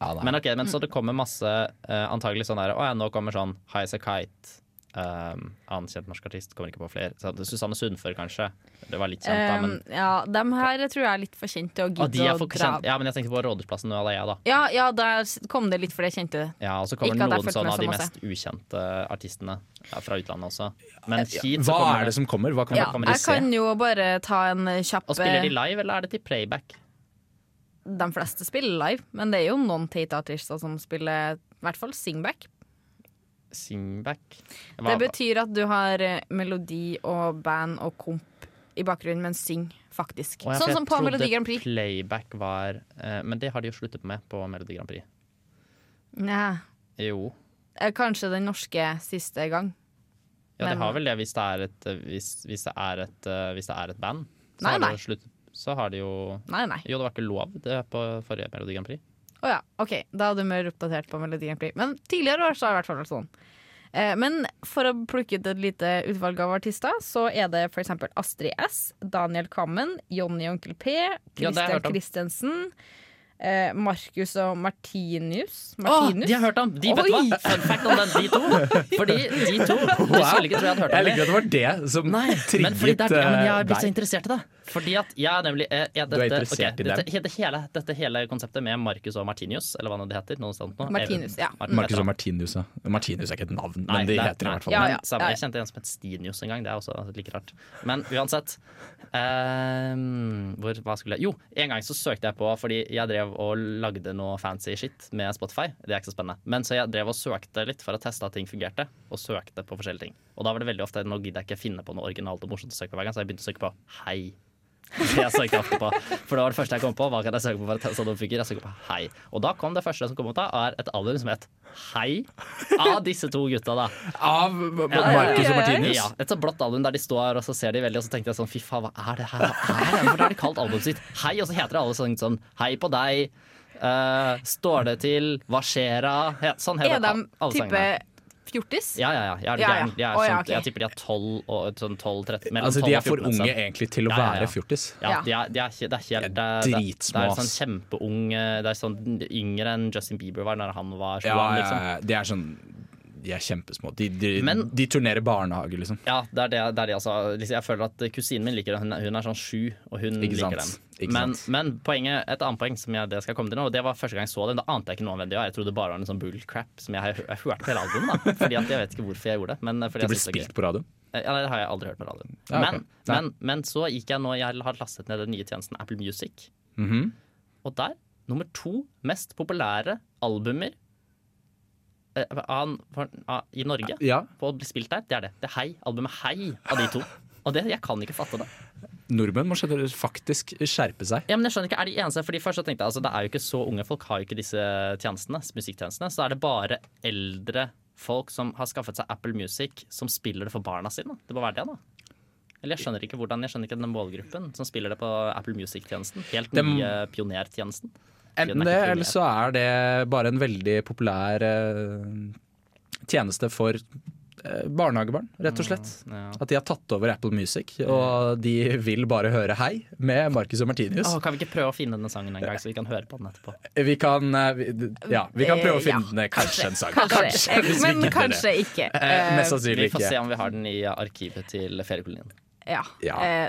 S2: Ja, nei.
S4: Men ok, men så det kommer masse eh, antagelig sånn der Å ja, nå kommer sånn High As A Kite. Um, annen kjent norsk artist, kommer ikke på flere. Så, Susanne Sundfør, kanskje. Det var litt kjent, da, men
S3: Um, ja, dem her tror jeg er litt for kjente til å
S4: Å, de
S3: gidde
S4: er
S3: å
S4: for
S3: dra.
S4: kjent. Ja, men jeg tenkte på Rådhusplassen nå, eller jeg, da.
S3: Ja, ja, der kom det litt for det kjente.
S4: Ja, Og så
S3: Ikke
S4: kommer
S3: at jeg
S4: noen
S3: fulgte
S4: sånn
S3: med
S4: av de
S3: så
S4: mest ukjente artistene ja, fra utlandet også. Men hit så
S2: Hva
S4: kommer
S2: er det som kommer? Hva kan
S3: Ja,
S2: man
S4: kommer de
S3: jeg
S4: se?
S3: kan jo bare ta en eh, kjapp
S4: Og spiller de live, eller er det til playback?
S3: De fleste spiller live, men det er jo noen teite artister som spiller i hvert fall singback.
S4: Singback?
S3: Det betyr at du har eh, melodi og band og komp i bakgrunnen, men syng faktisk.
S4: Å, ja, for
S3: sånn
S4: jeg
S3: som på
S4: trodde
S3: Melodi Grand Prix.
S4: Playback var eh, Men det har de jo sluttet med på Melodi Grand Prix.
S3: Nei,
S4: Jo.
S3: eh, kanskje den norske siste gang.
S4: Ja, det
S3: Men-
S4: har vel det hvis det er et, eh, hvis, hvis det er et, eh, hvis det er et band. Så
S3: Nei,
S4: har det
S3: nei.
S4: jo slutt, så har de jo
S3: Nei, nei.
S4: Jo, det var ikke lov det på forrige Melodi Grand Prix.
S3: Å ja, ok. Da er du mer oppdatert på Melodi Grand Prix. Men tidligere år så har det i hvert fall vært sånn. Eh, Men for å plukke ut et lite utvalg av artister, så er det f.eks. Astrid S, Daniel Kammen, Jonny og Onkel P,
S4: Ja, det har jeg hørt
S3: Christian
S4: om.
S3: Christensen, eh, Markus og Martinius.
S4: de har hørt om! De, vet
S3: Oi!
S4: du hva? Fun fact om den, de to. Fordi de to Du skulle ikke tro jeg hadde hørt
S2: Jeg
S4: om
S2: liker
S4: det.
S2: at det var det som
S4: Nei, men, fordi
S2: trigget
S4: det er, ja, men jeg
S2: eh,
S4: har blitt så
S2: deg.
S4: interessert i det. Fordi at jeg er nemlig eh, jeg,
S2: Du er
S4: dette-
S2: interessert
S4: ok,
S2: i dem?
S4: Dette, he- det hele, dette hele konseptet med Marcus og Martinius, eller hva nå det heter. Noe sånt nå.
S3: Martinus, ja.
S4: Mar-
S2: Marcus og
S4: heter han.
S2: Martinus, ja. Martinus er ikke et navn,
S4: Nei,
S2: men de
S4: nei,
S2: heter det
S4: nei.
S2: i hvert fall.
S3: Ja,
S4: Men
S3: ja,
S4: samme,
S3: ja, ja.
S4: Jeg kjente en som het Stinius en gang. Det er også like rart. Men uansett. ehm, hvor, hva skulle jeg Jo, en gang så søkte jeg på fordi jeg drev og lagde noe fancy shit med Spotify. Det er ikke så spennende. Men så jeg drev og søkte litt for å teste at ting fungerte. Og søkte på forskjellige ting. Og da var det veldig ofte Nå gidder jeg ikke finne på noe originalt og morsomt å søke på hver gang, så jeg begynte å søke på hei. Det jeg søkte ofte på. For det var det første jeg kom på. Hva kan jeg søke på for å teste at noe funker? Jeg søker på hei. Og da kom det første som kom opp da, er et album som het Hei. Av disse to gutta, da.
S2: Av Marcus
S4: ja, ja,
S2: og Martinus?
S4: Ja, et sånt blått album der de står og så ser de veldig, og så tenkte jeg sånn fy faen, hva er det her? Hva er det? her? For da har de kalt albumet sitt Hei, og så heter det alle sånn, sånn Hei på deg, eh, Står det til, Hva skjer da? He- Sånn
S3: Er
S4: heter
S3: de
S4: al- alle
S3: type
S4: sangene.
S3: fjortis?
S4: Ja, ja, ja. Jeg, er
S3: Ja, ja.
S4: gæren. Jeg, er
S3: Å, ja,
S4: sånn,
S3: ok.
S4: jeg tipper de er 12 og sånn 12-13 mellom
S2: Altså,
S4: 12
S2: de
S4: og
S2: er for
S4: 14,
S2: unge
S4: liksom.
S2: egentlig til å
S4: Ja, ja, ja.
S2: være fjortis.
S4: Ja, de er, de er, ikke- det er helt det er- Det
S2: dritsmå,
S4: er sånn
S2: ass.
S4: kjempeung eh, Det er sånn yngre enn Justin Bieber var når han var
S2: Ja,
S4: 21, liksom.
S2: ja, ja. de er sånn De er kjempesmå. De, de,
S4: Men-
S2: de turnerer barnehage, liksom.
S4: Ja, det er det, det er det altså. Liksom, Jeg føler at kusinen min liker den. Hun, hun er sånn sju, og hun
S2: Ikke sant.
S4: liker den.
S2: Ikke
S4: men,
S2: sant.
S4: men poenget, et annet poeng som jeg det skal komme til nå, og det var første gang jeg så den. Da ante jeg ikke noe om hvem de var. Jeg trodde det bare var en sånn bullcrap som jeg, jeg hørte på hele albumet. da Fordi at jeg vet ikke hvorfor jeg gjorde det. Men eh, fordi
S2: De
S4: jeg
S2: blir
S4: synes det er gøy.
S2: spilt på radio.
S4: Eh, Ja, nei, det har jeg aldri hørt på radioen.
S2: Ja, ok.
S4: men,
S2: Nei.
S4: men, men så gikk jeg nå Jeg har lastet ned den nye tjenesten Apple Music.
S2: Mhm.
S4: Og der, nummer to mest populære albumer eh, an, for, a, i Norge
S2: Ja.
S4: på å bli spilt der, det er det. Det er Hei. Albumet Hei av de to. Og det, jeg kan ikke fatte det.
S2: Nordmenn må skjønne- faktisk skjerpe seg.
S4: Ja, men jeg skjønner ikke, er de eneste, fordi først så tenkte jeg altså, Det er jo ikke så unge folk har jo ikke disse tjenestene, musikktjenestene. Så er det bare eldre folk som har skaffet seg Apple Music, som spiller det for barna sine. Det må være det, da. Eller jeg skjønner ikke hvordan, jeg skjønner ikke den målgruppen som spiller det på Apple Music-tjenesten. Helt
S2: Dem-
S4: nye pionertjenesten. Den
S2: Enten
S4: er
S2: det,
S4: ikke
S2: eller så er det bare en veldig populær eh, tjeneste for eh, barnehagebarn, rett og slett.
S3: Mm,
S4: Ja.
S2: At de har tatt over Apple Music, og de vil bare høre Hei med Marcus og Martinius.
S4: Åh, kan vi ikke prøve å finne denne sangen en gang, så vi kan høre på den etterpå?
S2: Vi kan, eh, vi, ja, vi kan prøve å
S3: Eh, ja.
S2: finne den, eh, kanskje en sang.
S3: Kanskje, Eh,
S2: hvis vi gidder
S3: men
S2: det.
S3: kanskje ikke.
S2: Eh, Mest
S4: Vi
S2: sannsynlig
S4: får se
S2: ikke.
S4: om vi har den i arkivet til feriekolonien.
S3: ja.
S2: Ja. Eh,
S3: Eh,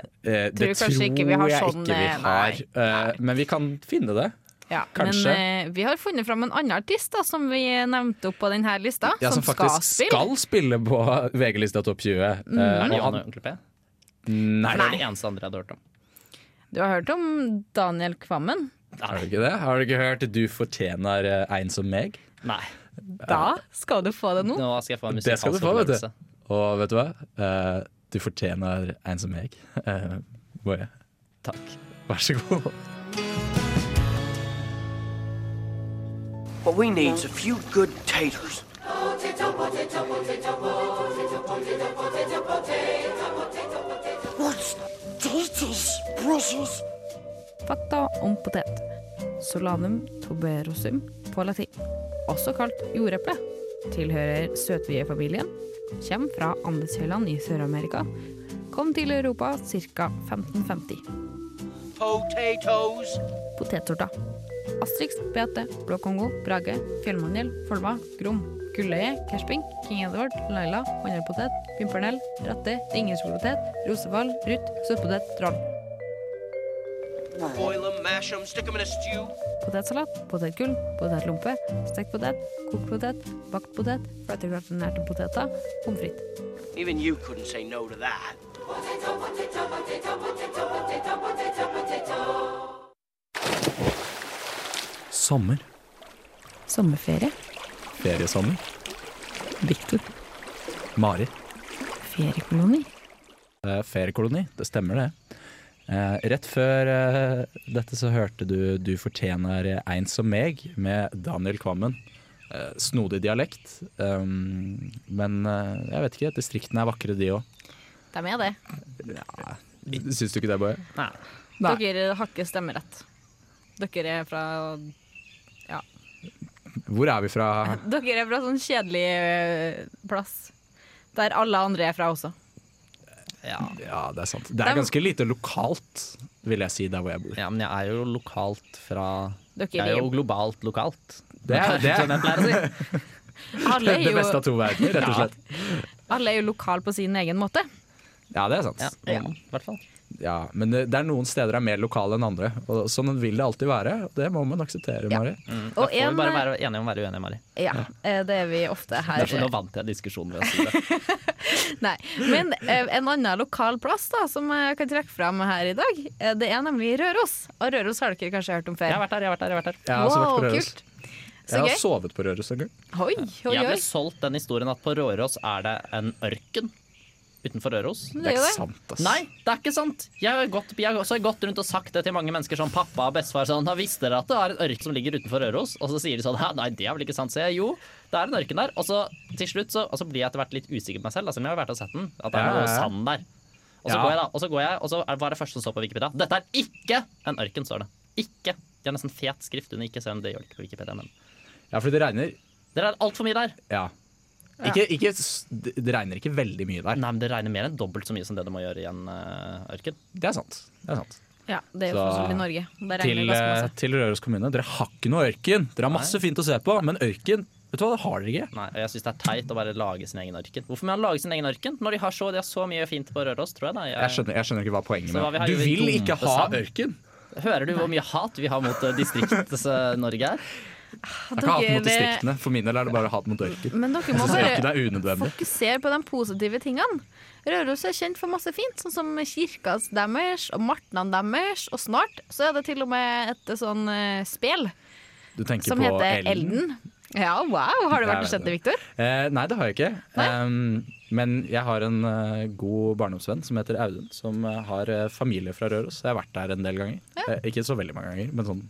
S2: Det
S3: Tror
S2: tror
S3: kanskje
S2: jeg
S3: ikke vi har
S2: ikke
S3: sånn,
S2: vi
S3: eh,
S2: har.
S3: nei,
S2: eh, Men vi kan finne det.
S3: ja.
S2: Kanskje.
S3: Men eh, vi har funnet fram en annen artist da, som vi nevnte opp på denne lista,
S2: Ja, som
S3: skal
S2: faktisk
S3: spille. Mm.
S2: skal spille på VG-lista Topp 20. eh,
S4: Er det
S2: og
S4: Jan og
S2: han,
S4: Onkel P?
S2: nei,
S4: Det er det eneste andre jeg hadde hørt om.
S3: Du har hørt om Daniel Kvammen?
S2: har du ikke det? Har du ikke hørt 'Du fortjener eh, en som meg'?
S4: Nei.
S3: Da skal du få det nå.
S4: Nå skal jeg få en
S2: Det skal du
S4: musikalsk
S2: få, vet
S4: opplevelse.
S2: du. Og vet du hva? Eh, du fortjener en som meg. Eh, Boje,
S4: Takk.
S2: vær så god.
S8: What we need's a few good taters. What's taters, precious?
S3: Fatta om potet. Solanum tuberosum på latin, også kalt jordeple. Tilhører søtviefamilien. Kjem fra Andeshøyland i Sør-Amerika. Kom til Europa ca. 1550.
S8: Potatoes.
S3: Potetsorter. Astrix, Beate, Blå Kongo, Brage, Fjellmandel, Folma, Grom, Gulløye, Kersping, King Edward, Laila, Mandelpotet, Pimpernell, Ratte, Ringenespotet, Rosefall, Ruth, Søtpotet, Troll.
S8: Boil 'em, mash 'em, stick 'em in a stew.
S3: Potetsalat, potetgull, potetlompe, stekt potet, kokt potet, bakt potet, fløtegratinerte poteter, pommes frites.
S8: Even you couldn't say no to that.
S2: Sommer.
S3: Sommerferie.
S2: Feriesommer.
S3: Victor.
S2: Mari.
S3: Feriekoloni.
S2: Eh, feriekoloni, det stemmer det. Eh, rett før eh, dette så hørte du 'Du fortjener en som meg' med Daniel Kvammen. Eh, snodig dialekt, um, men eh, jeg vet ikke. Distriktene er vakre, de òg.
S3: Det er med det.
S2: Syns du ikke det, Boje?
S4: Nei.
S3: Dere har ikke stemmerett. Dere er fra
S2: Hvor er vi fra?
S3: Dere er fra sånn kjedelig eh, plass. Der alle andre er fra også.
S4: Ja.
S2: Ja, det er sant. Det er ganske lite lokalt, vil jeg si, der hvor jeg bor.
S4: ja, men jeg er jo lokalt fra
S3: Dere
S4: Jeg er jo globalt lokalt.
S2: Det er det, er,
S3: alle,
S2: det
S3: er
S2: beste
S3: jo,
S2: av to verdener, rett og slett.
S3: alle er jo lokal på sin egen måte.
S2: Ja, det er sant.
S4: Ja, noen, i hvert fall.
S2: Ja, men det det er noen steder er mer lokale enn andre. Og sånn vil det alltid være. og Det må man akseptere,
S3: Ja. Mm.
S2: Mari.
S4: Mm. Da
S3: Og
S4: får vi
S3: en,
S4: bare være enige om å være uenige, Mari.
S3: ja, eh, det er vi ofte her.
S4: Derfor nå vant jeg diskusjonen ved å si det.
S3: Nei, men eh, en annen lokal plass da, som jeg kan trekke fram her i dag, eh, det er nemlig Røros. Og Røros har dere kanskje hørt om før.
S4: Jeg har vært der, jeg har vært der. Jeg, har vært der.
S2: Jeg har også vært på
S3: Wow,
S2: Røros.
S3: kult.
S2: Jeg
S3: Så
S2: har
S3: gøy.
S2: sovet på Røros en gang.
S3: Oi, oi,
S4: jeg
S3: oi.
S4: ble solgt den historien at på Røros er det en ørken utenfor Røros.
S2: Det er
S3: jo
S2: ikke sant, ass.
S4: Nei, det er ikke sant! Jeg har gått, jeg har, så har jeg gått rundt og sagt det til mange mennesker som pappa og bestefar. Sånn, «Ja, visste dere at det er en ørk som ligger utenfor Røros? Og så sier de sånn «Hæ, Nei, det er vel ikke sant. Så jeg jo, det er en ørken der. Og så til slutt så, og så blir jeg etter hvert litt usikker på meg selv, da, selv om jeg har vært og sett den. At
S2: Ja,
S4: det er
S2: ja,
S4: noe
S2: ja.
S4: sand der. Og så
S2: Ja.
S4: går jeg, da. Og så går jeg, og så er- var det første som så på Wikipedia. Dette er ikke en ørken, står det. Ikke. De har nesten fet skrift under ikke, selv om det gjør det ikke på Wikipedia. Men
S2: Ja, fordi det regner.
S4: dere er altfor mye der.
S2: Ja. Ikke, ikke, s- det det regner ikke veldig mye der.
S4: Nei, men det regner mer enn dobbelt så mye som det det må gjøre i en eh, ørken.
S2: Det er sant. Det er sant.
S3: Ja, det er jo
S2: Så-
S3: fortsatt i Norge. Der regner
S2: Til,
S3: det ganske
S2: eh,
S3: masse.
S2: til Røros kommune. Dere har ikke noe ørken. Dere har masse fint å se på, men ørken Vet du hva, det har dere ikke.
S4: Nei, og jeg syns det er teit å bare lage sin egen ørken. Hvorfor må man lage sin egen ørken når de har så, de har så mye fint på Røros, tror jeg. Da.
S2: Jeg skjønner, jeg skjønner ikke hva poenget
S4: Så
S2: med
S4: hva vi har
S2: Du
S4: gjort i
S2: vil ikke
S4: dumpe
S2: ha
S4: sand?
S2: ørken!
S4: Hører du hvor mye hat vi har mot eh, Distrikts-Norge her?
S2: Jeg kan ha hat mot
S3: Dere- eh,
S2: distriktene. For min del er det bare hat mot ørken.
S3: Men dere må
S2: Så ørken
S3: bare
S2: er unødvendig.
S3: fokusere på de positive tingene. Røros er kjent for masse fint, sånn som kirka deres og martnene deres. Og snart så er det til og med et sånn eh, spel
S2: Du tenker
S3: som
S2: på
S3: heter Elden. Ja, wow! Har du vært
S2: Det
S3: og
S2: er-
S3: sett det, Victor?
S2: Eh, nei, det har jeg ikke. Em, men jeg har en eh, god barndomsvenn som heter Audun, som eh, har eh, familie fra Røros. Jeg har vært der en del ganger. Eh, ikke så veldig mange ganger, men sånn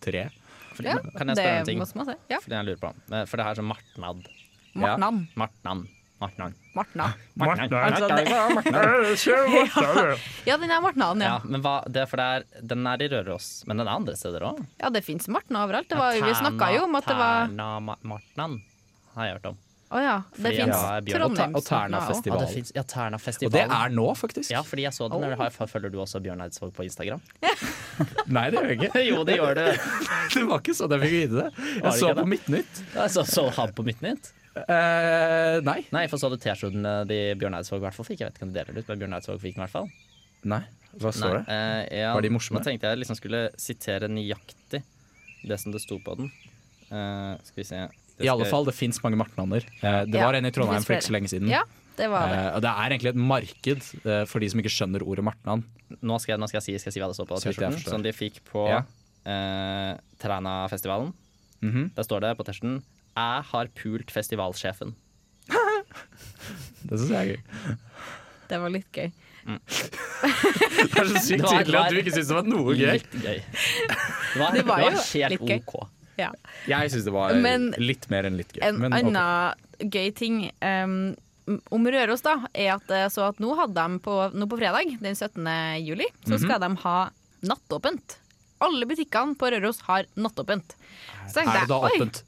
S2: tre.
S4: Fordi,
S3: Ja,
S4: kan jeg
S3: det
S4: spørre en ting?
S3: må man se. Ja.
S4: Fordi jeg lurer på. Eh, For det her er sånn martnad.
S3: Martnan.
S4: Martnan. Martnan.
S3: Martna.
S4: Martnan.
S3: Altså, det- Ja, den er martnaden, ja.
S4: Ja, men hva, det er for det er, den er i Røros, men den er andre steder òg.
S3: Ja, det fins martna overalt. Det var, vi snakka jo om at det var
S4: Terna Ma- Martnan har jeg hørt om.
S3: Å ja. Det
S4: Fordi jeg
S3: fins
S4: var Bjørn.
S3: Trondheimsnakken
S2: Og Terna
S3: også.
S2: festival.
S4: Ja, det finnes, ja, Ternafestivalen.
S2: Og det er nå, faktisk.
S4: Ja, fordi jeg så den. Eller har- følger du også Bjørn Eidsvåg på Instagram?
S2: Nei, det gjør jeg ikke.
S4: jo, det gjør du.
S2: Det var ikke sånn jeg fikk vite det.
S4: Var
S2: Jeg
S4: det
S2: så
S4: ikke
S2: på
S4: det?
S2: Midtnytt.
S4: Ja, Så, så han på Mitt Nytt?
S2: Eh, nei.
S4: Nei, for så du T-skjortene de Bjørn Eidsvåg i hvert fall fikk? Jeg vet ikke om de deler det ut, men Bjørn Eidsvåg fikk den i hvert fall.
S2: Nei. Hva står det?
S4: eh, ja,
S2: Var de morsomme?
S4: Nå tenkte jeg liksom skulle sitere nøyaktig det som det sto på den. Eh, skal vi se Det
S2: I alle
S4: skal-
S2: fall, det fins mange Martnaner. Eh, det
S3: Ja,
S2: var en i
S3: det
S2: Trondheim
S3: finnes
S2: for ikke så
S3: flere.
S2: lenge siden.
S3: Ja, det var det.
S2: Eh, og det er egentlig et marked eh, for de som ikke skjønner ordet martnan.
S4: Nå skal jeg, nå skal jeg, si, skal jeg si hva det står på
S2: Så vidt jeg
S4: T-skjorten,
S2: forstår.
S4: som de fikk på
S2: Ja.
S4: eh, Trænafestivalen.
S2: Mhm.
S4: Der står det på T-skjorten 'Jeg har pult festivalsjefen'.
S2: Det synes jeg er gøy.
S3: Det var litt gøy.
S2: Det er så sykt
S4: Det var-
S2: tydelig at du ikke syns det var noe gøy.
S4: Litt gøy. Det
S3: Det
S4: var,
S3: var
S4: det
S3: jo
S4: var helt
S3: litt gøy.
S4: OK.
S3: Ja.
S2: Jeg syns det var
S3: Men-
S2: litt mer enn litt gøy.
S3: En
S2: men ok.
S3: annen gøy ting em, om Røros, da, er at jeg så at nå hadde de på, nå på fredag, den 17. juli,
S2: Mhm.
S3: så skal de ha nattåpent. Alle butikkene på Røros har nattåpent. Så tenkte
S2: Er det da
S3: jeg, oi,
S2: åpent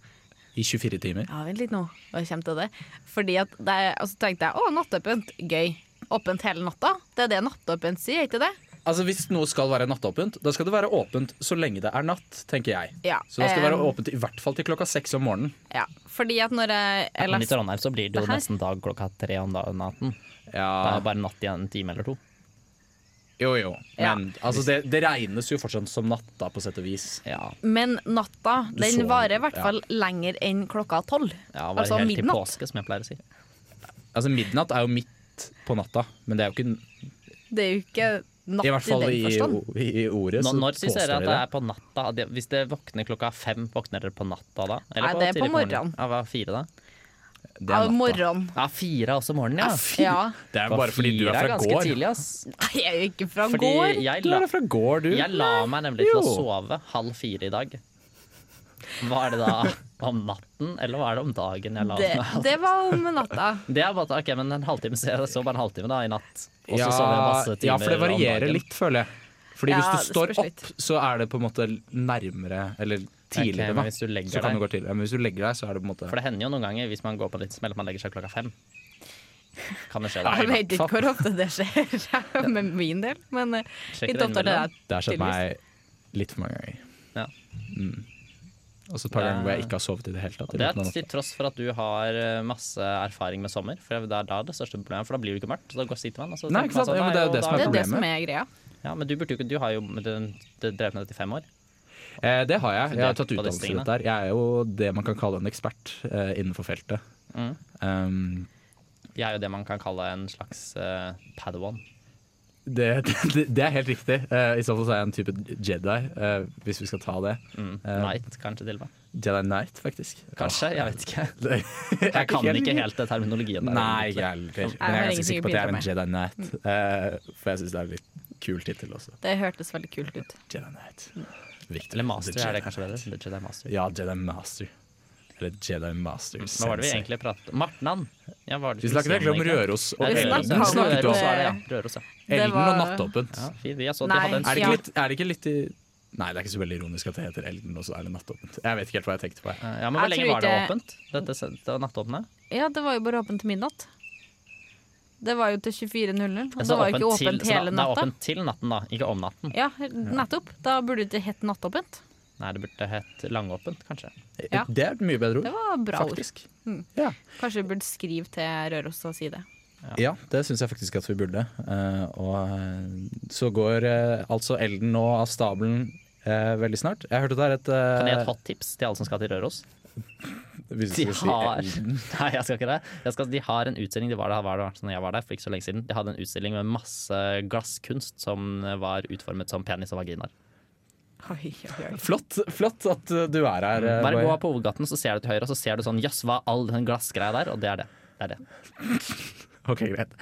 S2: i 24 timer?
S3: Ja, vent litt nå. Jeg kommer til det. Fordi at det, er- altså tenkte jeg å, nattåpent, gøy. Åpent hele natta. Det er det nattåpent sier, er ikke det?
S2: Altså Hvis noe skal være nattåpent, da skal det være åpent så lenge det er natt, tenker jeg.
S3: Ja,
S2: Så det skal
S3: eh,
S2: være åpent i hvert fall til klokka seks om morgenen.
S3: Ja. Fordi at når jeg, jeg
S4: Men i
S3: leste
S4: Trondheim så blir det jo
S3: Det her-
S4: nesten dag klokka tre om da- natten. Det
S2: Ja,
S4: er bare natt igjen en time eller to.
S2: jo jo.
S3: Ja.
S2: Men altså, det, det regnes jo fortsatt som natta, på sett og vis.
S4: Ja,
S3: Men natta,
S2: Du så-
S3: den varer i hvert
S2: ja.
S3: fall lenger enn klokka tolv.
S4: ja bare
S3: altså
S4: helt til
S3: midnatt.
S4: påske, som jeg pleier å si.
S2: Altså Midnatt er jo midt på natta, men det er jo ikke
S3: Det er jo ikke natt
S2: I
S3: i,
S2: hvert fall i,
S3: den forstand.
S2: i, i ordet.
S4: Nå,
S2: så
S4: når syns
S2: påstår
S4: dere at
S2: de
S4: det er på natta? Det- Hvis det våkner klokka fem, våkner dere på natta da?
S3: Nei, det er på
S4: tidlig
S3: morgenen.
S4: Ja, hva, fire da?
S2: Det er natta.
S3: Av morgenen.
S4: Ja, fire er også morgenen, ja.
S3: Ja.
S2: Det er
S4: Hva,
S2: bare fordi du
S4: fire
S2: er fra
S4: ganske
S2: gård.
S4: Tidlig, ass.
S3: Nei, jeg er jo ikke fra
S4: Fordi
S3: gård.
S4: jeg
S2: Du
S4: la,
S2: er fra gård, du.
S4: jeg la meg nemlig til å
S2: Jo.
S4: sove halv fire i dag. Var det da om natten, eller var det om dagen jeg la
S3: Det,
S4: meg?
S3: det var om natta.
S4: Det er bare, ok, men en halvtime, så jeg så bare en halvtime da, i natt. Og
S2: ja,
S4: så sov jeg masse timer
S2: ja, for det
S4: om
S2: varierer
S4: dagen.
S2: litt, føler jeg. Fordi
S3: Ja,
S2: hvis du
S3: det
S2: står
S3: spørs
S2: opp, så er det på en måte nærmere, eller
S4: Ok,
S2: tidligere,
S4: men
S2: da.
S4: hvis du legger
S2: så kan
S4: deg.
S2: du gå tidligere. Men hvis du legger deg, så er det på en måte
S4: For det hender jo noen ganger, hvis man går på en liten smell, at man legger seg klokka fem. Kan det skje, da?
S3: Jeg vet ikke
S2: faen.
S3: hvor ofte det skjer med min del, men eh,
S4: Sjekker
S3: litt oftere det
S4: innimellom.
S3: er
S2: Det har skjedd
S3: tydeligvis.
S2: meg litt for mange ganger. Mm.
S4: Ja.
S2: Og så et par
S4: Det-
S2: ganger hvor jeg ikke har sovet i det hele tatt. i
S4: Det
S2: løpet av
S4: er
S2: natta.
S4: til tross for at du har eh, masse erfaring med sommer, for det er da det største problemet, for da blir det jo ikke mørkt. Så da går sitter man, og så
S2: Nei,
S4: tenker
S2: ikke
S4: man
S2: sant? Ja, men det er
S4: jo
S2: det som
S4: da-
S3: Det er det
S2: problemet.
S3: som er greia.
S4: Ja, men du burde jo ikke, du har jo du, du drevet med dette i fem år.
S2: Eh, det har jeg. Jeg har tatt
S4: På disse
S2: utdannelse i dette. her Jeg er jo det man kan kalle en ekspert eh, innenfor feltet.
S4: Mm.
S2: Um,
S4: Jeg er jo det man kan kalle en slags eh, padawan.
S2: det, det, det er helt riktig. Eh, I så fall så er jeg en type Jedi, eh, hvis vi skal ta det. Eh,
S4: Knight, kanskje til og med.
S2: Jedi Knight, faktisk.
S4: Kanskje, jeg vet ikke.
S2: Det-
S4: Jeg kan ikke helt det terminologien der.
S2: Nei, ikke
S4: egentlig.
S2: jeg heller. Men jeg
S3: har
S2: er ganske
S3: ingenting
S2: sikker på at
S3: å
S2: jeg er en
S3: bidra
S2: Jedi Knight. eh, for jeg syns det er en litt kul tittel også.
S3: Det hørtes veldig kult ut.
S2: Jedi Knight. Victor,
S4: Eller master
S2: the
S4: er det
S2: Jedi
S4: kanskje
S2: Knight.
S4: bedre. The Jedi Master.
S2: Ja, Jedi Master. Eller Jedi Master.
S4: Hva var det vi
S2: Sensei.
S4: egentlig pratet om? Martnan. Ja, hva var det
S2: Vi snakket egentlig om
S4: egentlig?
S2: Røros og
S4: Nei,
S3: Vi
S2: Elden.
S3: snakket
S2: Vi
S3: om
S2: snakket
S4: Røros,
S2: om
S3: Røros.
S4: var det, ja. Røros, ja.
S2: Elden og
S3: var-
S2: Nattåpent.
S4: ja fint. Jeg så de
S3: Nei.
S4: hadde en
S2: Er det,
S3: Ja.
S2: ikke litt, er det ikke litt i Nei, det er ikke så veldig ironisk at det heter Elden, og så er det Nattåpent. Jeg vet ikke helt hva jeg tenkte på. Jeg.
S4: Ja, men hvor
S3: Jeg
S4: lenge
S3: tror
S4: var det
S3: ikke-
S4: åpent? Dette det nattåpne?
S3: Ja, det var jo bare åpent til midnatt. Det var jo til 24.00. Og det
S4: Så
S3: var jo ikke
S4: Altså, til-
S3: åpent
S4: så da-
S3: hele
S4: Det er
S3: natta.
S4: åpent til natten, da. Ikke om natten.
S3: Ja, nettopp. Da burde det hett nattåpent.
S4: Nei, det burde hett langåpent, kanskje.
S3: Ja.
S2: Det er et mye bedre ord,
S3: Det var bra ord. Mm.
S2: faktisk. Ja.
S3: Kanskje vi burde skrive til Røros og si det.
S2: ja, det syns jeg faktisk at vi burde. Eh, og eh, så går eh, altså Elden nå av stabelen eh, veldig snart. Jeg hørte det er et eh,
S4: Kan jeg gi et hot tips til alle som skal til Røros?
S2: hvis du skal
S4: De
S2: si
S4: har
S2: Elden.
S4: Nei, jeg skal ikke det. Jeg skal, de har en utstilling, de var der, var der, var der når jeg var der for ikke så lenge siden. De hadde en utstilling med masse glasskunst som var utformet som penis og vaginaer.
S3: Oi, oi, oi.
S2: Flott, flott at eh, du er her. eh,
S4: Mm, Bare
S2: Boy.
S4: gå på hovedgaten, så ser du til høyre, og så ser du sånn jøss, hva er all den glassgreia der? Og det er det. Det er det.
S2: Ok, greit.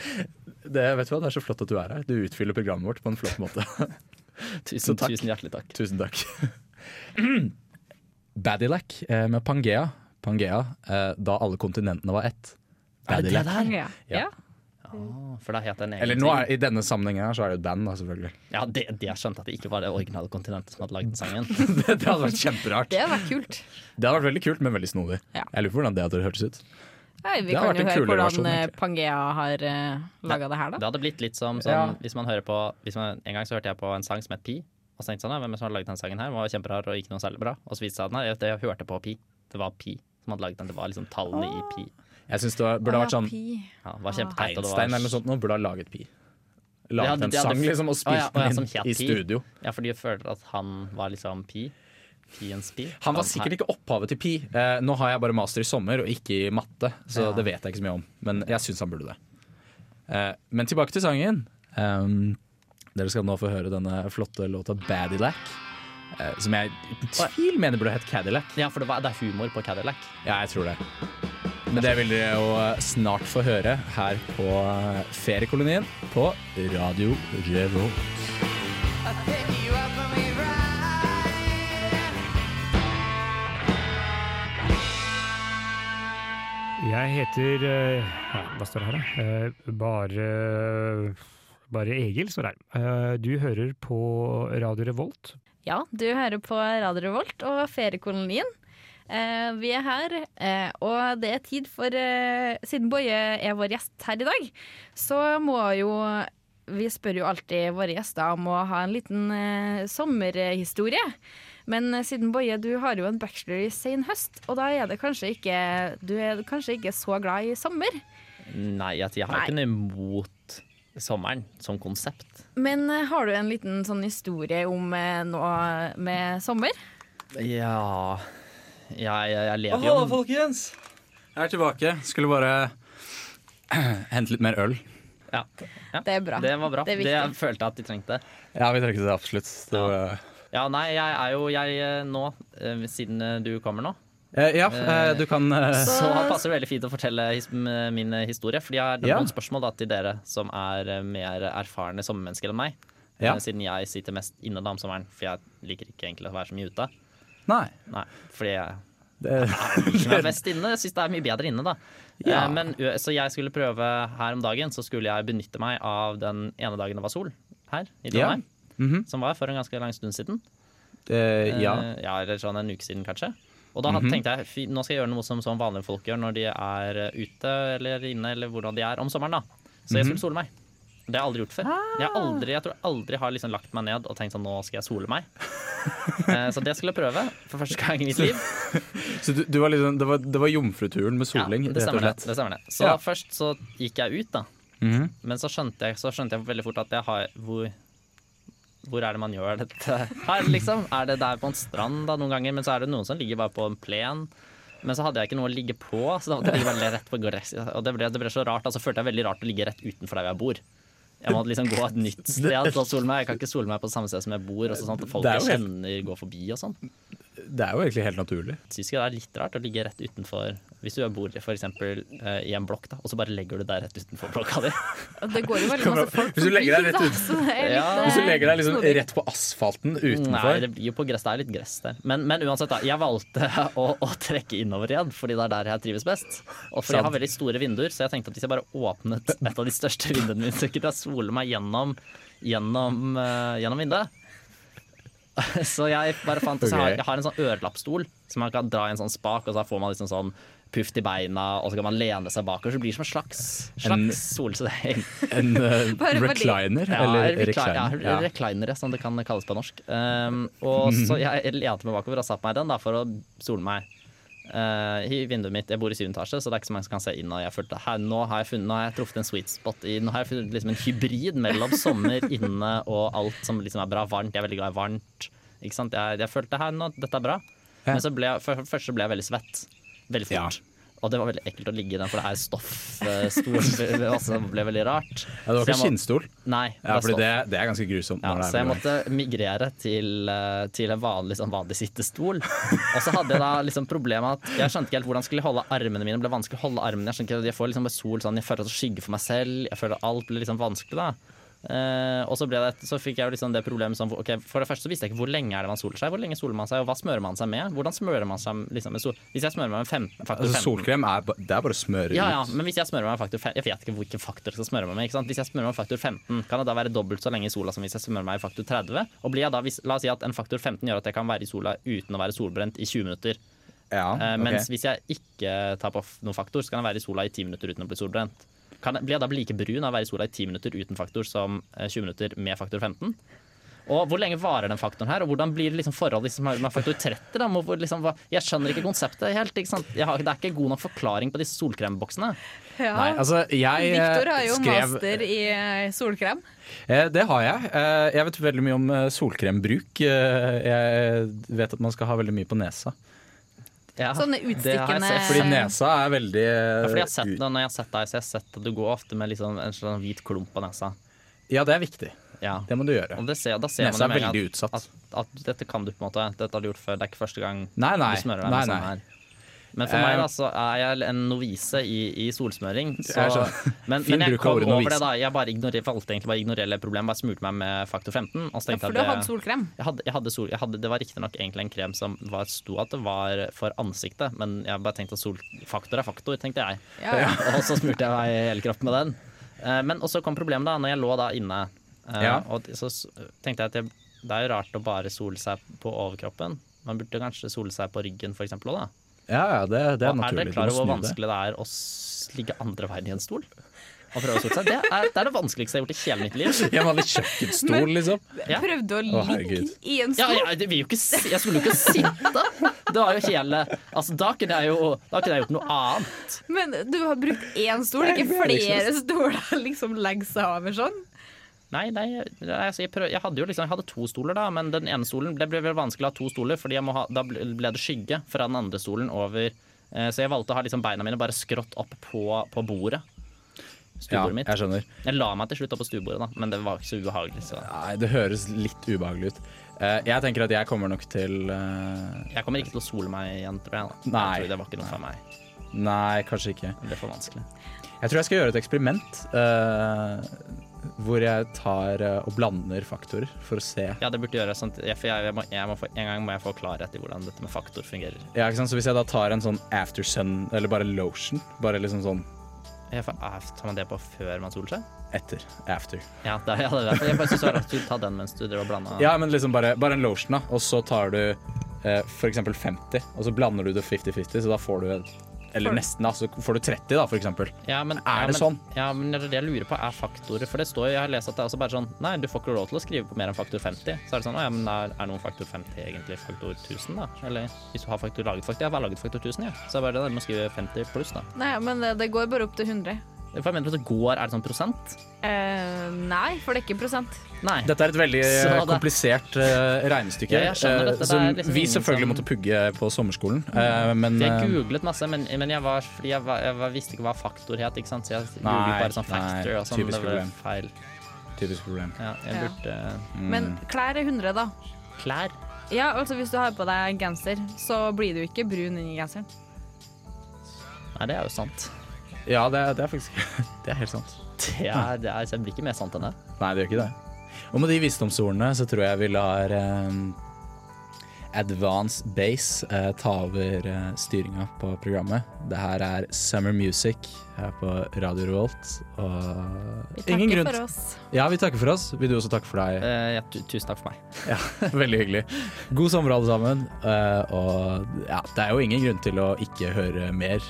S2: Det, vet du hva, det er så flott at du er her. Du utfyller programmet vårt på en flott måte.
S4: Tusen,
S2: takk.
S4: tusen hjertelig takk.
S2: Tusen takk. Badilac eh, med Pangea. Pangea eh, da alle kontinentene var ett. Badilac.
S3: Ja.
S2: Ja.
S3: Ja.
S4: For da het det en egen
S2: Eller nå
S4: ting.
S2: er, I denne sammenhengen her så er det jo et band, da, selvfølgelig.
S4: Ja, det, det jeg skjønte at det ikke var det originale kontinentet som hadde lagd den sangen.
S2: Det hadde vært kjemperart.
S3: Det var kult.
S2: Det hadde vært veldig kult, men veldig snodig.
S3: Ja.
S2: Jeg lurer på hvordan det hadde hørtes ut.
S3: Nei, vi
S2: Det har
S3: kan
S2: vært
S3: jo
S2: en
S3: høre
S2: kulere
S3: hvordan
S2: versjon, egentlig.
S3: eh, Pangea har uh, laga det her, da.
S4: Det hadde blitt litt som sånn, hvis man hører på hvis man, En gang så hørte jeg på en sang som het Pi. Og så tenkte jeg sånn, «Nei, hvem er det som har laget den sangen her? Den var kjemperar og ikke noe særlig bra. Og så viste det seg at den her, det jeg hørte på Pi. Det var Pi som hadde laget den. Det var liksom tallene i Pi.
S2: Jeg syns det var, burde ha vært sånn
S4: Ja, det var kjempeteit. og det var-
S2: Einstein eller noe sånt nå burde ha laget Pi. Laget
S4: hadde-
S2: en
S4: de hadde-
S2: sang liksom og
S4: Å ja,
S2: spilt
S4: å ja, som
S2: den
S4: het
S2: inn i
S4: Pi.
S2: studio.
S4: Ja, fordi jeg føler at han var liksom Pi. Piens Pi.
S2: Han var sikkert ikke opphavet til Pi. Eh, nå har jeg bare master i sommer og ikke i matte, så det vet jeg ikke så mye om. Men jeg syns han burde det. Eh, men tilbake til sangen. Ehm, dere skal nå få høre denne flotte låta 'Badilac'. eh, Som jeg i tvil mener burde hett Cadillac.
S4: Ja, for det, var, det er humor på Cadillac.
S2: Ja, jeg tror det. Men det vil dere jo snart få høre her på eh, Feriekolonien på Radio Revolt.
S9: Jeg heter eh, ja, Hva står det her, da? Eh, Bare, bare Egil står det her. Eh, Du hører på Radio Revolt.
S3: Ja, du hører på Radio Revolt og Feriekolonien. Eh, vi er her, eh, og det er tid for eh, Siden Boje er vår gjest her i dag, så må jo Vi spør jo alltid våre gjester om å ha en liten eh, sommerhistorie. Men eh, siden Boje, du har jo en bachelor i sen høst, og da er det kanskje ikke Du er kanskje ikke så glad i sommer.
S4: Nei, at jeg har ikke noe imot sommeren som konsept.
S3: Men eh, har du en liten sånn historie om eh, noe med sommer?
S4: Ja Jeg, jeg, jeg lever jo
S2: Hallo, folkens! Jeg er tilbake. Skulle bare hente litt mer øl.
S4: ja. ja.
S3: Det er bra.
S4: Det var bra.
S3: Det
S4: Det,
S3: er viktig.
S4: jeg følte at de trengte.
S2: Ja, vi trengte det absolutt. Det var-
S4: Ja, nei, jeg er jo jeg eh, nå, eh, siden eh, du kommer nå,
S2: Eh, ja, eh, du kan eh,
S4: så passer det veldig fint å fortelle his m- min eh, historie. Fordi jeg har
S2: Ja.
S4: noen spørsmål da, til dere som er eh, mer erfarne sommermennesker enn meg.
S2: Ja.
S4: Eh, Siden jeg sitter mest innendørs om sommeren, for jeg liker ikke egentlig å være så mye ute.
S2: Nei.
S4: Nei, fordi jeg
S2: Det,
S4: Som er best inne. Jeg syns det er mye bedre inne, da.
S2: Ja.
S4: Eh, Men, u- så jeg skulle prøve her om dagen, så skulle jeg benytte meg av den ene dagen det var sol her i
S2: Ja.
S4: Trondheim. Som var for en ganske lang stund siden.
S2: eh,
S4: Eh,
S2: ja. Mhm.
S4: ja, Eller sånn en uke siden, kanskje. Og da had- tenkte jeg fy, nå skal jeg gjøre noe som sånn vanlige folk gjør når de er eh, ute eller inne, eller hvordan de er om sommeren, da. Så
S2: Mhm.
S4: jeg skulle sole meg. Det har jeg aldri gjort før. Jeg, har aldri, jeg tror aldri har liksom lagt meg ned og tenkt sånn nå skal jeg sole meg. Eh, så det skulle jeg prøve for første gang i mitt liv.
S2: Så du, du var liksom, det, var, det var jomfruturen med soling,
S4: Ja,
S2: rett og
S4: det stemmer det.
S2: slett.
S4: det, stemmer det. Så
S2: Ja. Mhm.
S4: først så gikk jeg ut, da. Men så skjønte, jeg, så skjønte jeg veldig fort at jeg har hvor, hvor er det man gjør dette her, liksom? Er det der på en strand da noen ganger? Men så er det noen som ligger bare på en plen. Men så hadde jeg ikke noe å ligge på, så da måtte jeg ligge bare rett på gress. Og det ble, det ble så rart. Altså følte jeg veldig rart å ligge rett utenfor der hvor jeg bor. Jeg måtte liksom gå et nytt sted. Så sole meg. Jeg kan ikke sole meg på samme sted som jeg bor. Og så sånn at folk
S2: Det er
S4: jeg
S2: jo helt-
S4: kjenner går forbi og sånn
S2: Det er jo egentlig helt naturlig.
S4: syns ikke det er litt rart å ligge rett utenfor Hvis du bor for eksempel, eh, i en blokk, da, og så bare legger du deg rett utenfor blokka di.
S3: Og Det går jo veldig masse folk
S2: Hvis du legger deg
S3: forbi,
S2: rett
S3: da,
S2: ut-
S3: så det er
S4: Ja.
S3: litt,
S2: Hvis du
S3: eh,
S2: legger deg liksom
S3: snodig.
S2: rett på asfalten
S4: Nei, det
S2: utenfor
S4: blir jo på gress. Det er litt gress der. Men, men uansett, da. Jeg valgte å, å trekke innover igjen, fordi det er der jeg trives best. Og fordi jeg har veldig store vinduer, så jeg tenkte at hvis jeg bare åpnet et av de største vinduene mine, så kunne jeg svole meg gjennom, gjennom, eh, gjennom vinduet. Så jeg bare fant så jeg, har,
S2: Ok.
S4: jeg har en sånn ørelappstol som man kan dra i en sånn spak, og så får man liksom sånn puff til beina, og så kan man lene seg bakover. Så det blir som en slags,
S2: En-
S4: slags solseng.
S2: en eh,
S3: Bare fordi-
S2: recliner.
S4: Ja,
S2: eller
S4: recliner, ja,
S2: recliner. Ja.
S4: reclinere, som det kan kalles på norsk. Um, og så jeg lente meg bakover og satte meg i den da, for å sole meg eh, i vinduet mitt. Jeg bor i syvende etasje, så det er ikke så mange som kan se inn. Og jeg følte, her, nå, har jeg funnet, nå har jeg truffet en sweet spot. I, nå har jeg funnet liksom en hybrid mellom sommer inne og alt som liksom er bra. Varmt. Jeg er veldig glad i varmt. Ikke sant? Jeg, jeg følte her, nå, dette er bra. Men så ble jeg, for, for først så ble jeg veldig svett. Veldig fort. Og det var veldig ekkelt å ligge i den, for det er stoffstol. altså, det ble veldig rart.
S2: Ja, det var
S4: Så jeg
S2: ikke
S4: må-
S2: skinnstol.
S4: Nei,
S2: Ja,
S4: det er
S2: fordi
S4: stoff.
S2: det, det er ganske grusomt.
S4: Ja,
S2: når det er
S4: så jeg
S2: veldig
S4: måtte migrere til, eh, til en vanlig, sånn vanlig sittestol. Og så hadde jeg da liksom problemet at jeg skjønte ikke helt hvordan jeg skulle holde armene mine. Det ble vanskelig å holde armene. Jeg skjønte ikke, jeg får liksom bare sol sånn, jeg føler at det skygger for meg selv. Jeg føler at alt blir liksom vanskelig da. Eh, og så, ble det, så fikk jeg jo liksom det problemet som ok, For det første så visste jeg ikke hvor lenge er det man soler seg. Hvor lenge soler man seg, og hva smører man seg med? Hvordan smører man seg liksom, med sol? Hvis jeg smører meg med fem, faktor
S2: Altså,
S4: 15
S2: solkrem er, ba- det er bare å smøre
S4: ja, ja,
S2: ut.
S4: men hvis jeg smører meg med faktor fem- Jeg vet ikke hvilken faktor jeg skal smøre meg med. Ikke sant? Hvis jeg smører meg med faktor 15, kan jeg da være dobbelt så lenge i sola som hvis jeg smører meg i faktor 30? Og blir jeg da, hvis, La oss si at en faktor 15 gjør at jeg kan være i sola uten å være solbrent i 20 minutter.
S2: Ja,
S4: Eh,
S2: ok.
S4: Mens hvis jeg ikke tar på f- noen faktor, så kan jeg være i sola i ti minutter uten å bli solbrent. Kan jeg, blir jeg da like brun av å være i sola i ti minutter uten faktor som eh, 20 minutter med faktor 15? Og Hvor lenge varer den faktoren her, og hvordan blir det liksom forholdet liksom med faktor 30? Da? Må- hvor Liksom, hva- jeg skjønner ikke konseptet helt. Ikke sant? Jeg har, det er ikke god nok forklaring på disse solkremboksene.
S3: Ja.
S2: Nei, altså, jeg eh,
S3: Victor har jo
S2: skrev
S3: master i eh, solkrem.
S2: Eh, Det har jeg. Eh, Jeg vet veldig mye om eh, solkrembruk. Eh, Jeg vet at man skal ha veldig mye på nesa.
S4: Ja,
S3: Sånne
S4: det har jeg
S3: utstikkende
S4: sett.
S2: Fordi nesa er veldig
S4: Ja, Fordi jeg har
S2: eh,
S4: sett
S2: ut-
S4: det, når jeg har sett deg, så jeg har sett at du går ofte med liksom en sånn hvit klump på nesa.
S2: Ja, det er viktig.
S4: Ja.
S2: Det må du gjøre.
S4: Og det ser, da ser
S2: Nesa er
S4: man jo med en gang
S2: veldig utsatt.
S4: At, at dette kan du på en måte. Dette har du gjort før. Det er ikke første gang
S2: Nei, nei,
S4: du smører deg
S2: nei,
S4: med sånn
S2: nei.
S4: her. Men for meg
S2: Eh,
S4: da, så er jeg en novise i, i solsmøring. Så,
S2: Jeg skjønner.
S4: men,
S2: Fin
S4: men jeg
S2: bruk av
S4: kom
S2: ordet
S4: over
S2: novise.
S4: det, da. Jeg bare ignorer, valgte egentlig bare å ignorere hele problemet. Bare smurte meg med faktor 15. Og så
S3: Ja,
S4: tenkte
S3: for du hadde
S4: jeg at det,
S3: solkrem.
S4: jeg hadde, jeg hadde sol, jeg hadde, det var riktignok egentlig en krem som var, sto at det var for ansiktet, men jeg bare tenkte at solfaktor er faktor, tenkte jeg.
S3: Ja, ja.
S4: Og så smurte jeg meg i hele kroppen med den. Eh, Men og så kom problemet da, når jeg lå da inne. eh,
S2: Ja.
S4: Og så s- tenkte jeg at jeg, det er jo rart å bare sole seg på overkroppen. Man burde kanskje sole seg på ryggen for eksempel også, da.
S2: Ja, ja, det, det er
S4: og er
S2: naturlig.
S4: dere
S2: Du må
S4: klar over
S2: snu
S4: hvor
S2: det.
S4: vanskelig det er å s- ligge andre veien i en stol? Og prøve å sole seg? Det er, det er det vanskeligste jeg har gjort i hele mitt liv.
S2: I en vanlig kjøkkenstol, liksom.
S4: Ja.
S3: Prøvde å
S2: Å,
S3: ligge
S2: herregud.
S3: i en
S4: Ja,
S3: stol.
S4: jeg, jeg, vil jo ikke, si- jeg skulle jo ikke sitte! Det var jo hele Altså, da kunne jeg jo Da kunne jeg gjort noe annet.
S3: Men du har brukt én stol,
S2: Nei,
S3: ikke
S2: det er
S3: flere
S2: liksom-
S3: stoler liksom legge seg over sånn.
S4: Nei, nei jeg- altså, jeg, prøv, jeg hadde jo liksom jeg hadde to stoler, da, men den ene stolen det ble vel vanskelig å ha to stoler, fordi jeg må ha, da ble ble det skygge fra den andre stolen over eh, Så jeg valgte å ha liksom beina mine bare skrått opp på, på bordet.
S2: Ja,
S4: Stuebordet mitt.
S2: jeg skjønner.
S4: Jeg la meg til slutt opp på stuebordet, da, men det var ikke så ubehagelig. Så.
S2: Nei, det høres litt ubehagelig ut. Eh, Jeg tenker at jeg kommer nok til eh,
S4: Jeg kommer ikke til å sole meg igjen, tror jeg. Da.
S2: Nei.
S4: Jeg tror det var ikke noe for meg.
S2: Nei, kanskje ikke.
S4: Det ble for vanskelig.
S2: Jeg tror jeg skal gjøre et eksperiment eh, hvor jeg tar eh, og blander faktorer for å se.
S4: Ja, det burde gjøre sånn at- jeg, for jeg, jeg, må, jeg må få, En gang må jeg få klarhet i hvordan dette med faktor fungerer.
S2: Ja, ikke sant? Så hvis jeg da tar en sånn after sun, eller bare lotion, bare liksom sånn
S4: Jeg får, ah, tar man det på før man soler seg?
S2: etter, after.
S4: Ja, det, ja, det er derfor. Jeg bare synes det var rart at du tar den mens du drev og blanda.
S2: Ja, men liksom bare, bare en lotion, da, og så tar du eh, for eksempel 50, og så blander du det 50-50, så da får du Eller nesten, da, så får du 30, da, for eksempel.
S4: Ja, men,
S2: Er
S4: ja,
S2: det
S4: men,
S2: sånn?
S4: Ja, men det er det jeg lurer på, er faktorer. For det står jo, jeg har lest at det er også bare sånn Nei, du får ikke lov til å skrive på mer enn faktor 50. Så er det sånn, å ja, men er, er noen faktor 50 egentlig faktor 1000, da? Eller hvis du har faktor laget faktor Jeg har laget faktor 1000, ja. Så er det bare det, du må skrive 50 pluss, da.
S3: Nei, men eh, det, det går bare opp til 100.
S4: Hva mener du at det går? Er det sånn prosent?
S3: Eh, nei, for det er ikke prosent.
S4: Nei.
S2: Dette er et veldig eh,
S4: Så det-
S2: komplisert eh, regnestykke,
S4: Ja, jeg skjønner dette.
S2: eh,
S4: Det
S2: som
S4: er liksom
S2: vi
S4: ingen
S2: selvfølgelig
S4: som-
S2: måtte pugge på sommerskolen, eh, men
S4: For
S2: eh,
S4: jeg googlet masse, men, men jeg, var, fordi jeg, var, jeg var, visste ikke hva faktor het, ikke sant? så jeg googlet
S2: Nei,
S4: bare sånn factor
S2: nei,
S4: og sånn.
S2: typisk
S4: Det var
S2: problem.
S4: feil.
S2: typisk problem.
S4: Ja, jeg
S3: Ja.
S4: burde
S2: Mm.
S3: Men klær er 100, da.
S4: Klær?
S3: Ja, altså Hvis du har på deg genser, så blir du ikke brun inni genseren.
S4: Nei, det er jo sant.
S2: Ja, det, er- det er faktisk Det er helt sant.
S4: Det er, det er, så det blir ikke mer sant enn det.
S2: Nei, det gjør ikke det. Og med de visdomsordene så tror jeg vi lar um, Advance Base eh, ta over uh, styringa på programmet. Det her er Summer Music her på Radio Revolt. Og
S3: Vi takker
S2: ingen grunn
S3: for oss.
S2: Ja, vi takker for oss. Vil du også takke for deg?
S4: Eh, ja, tu- tusen takk for meg.
S2: Veldig hyggelig. God sommer, alle sammen. Eh, og ja, det er jo ingen grunn til å ikke høre mer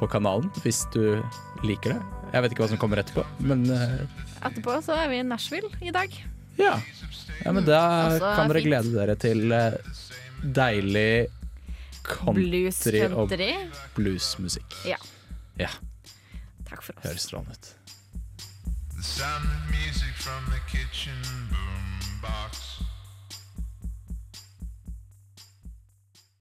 S2: på kanalen hvis du liker det. Jeg vet ikke hva som kommer etterpå, men eh,
S3: Etterpå så er vi i Nashville i dag.
S2: Ja. ja men da
S3: altså,
S2: kan dere
S3: fint.
S2: glede dere til eh, deilig
S3: Blues
S2: country og
S3: country.
S2: bluesmusikk.
S3: Ja.
S2: Ja,
S3: Takk for oss.
S2: høres strålende ut.
S10: The sound of music from the kitchen boom box.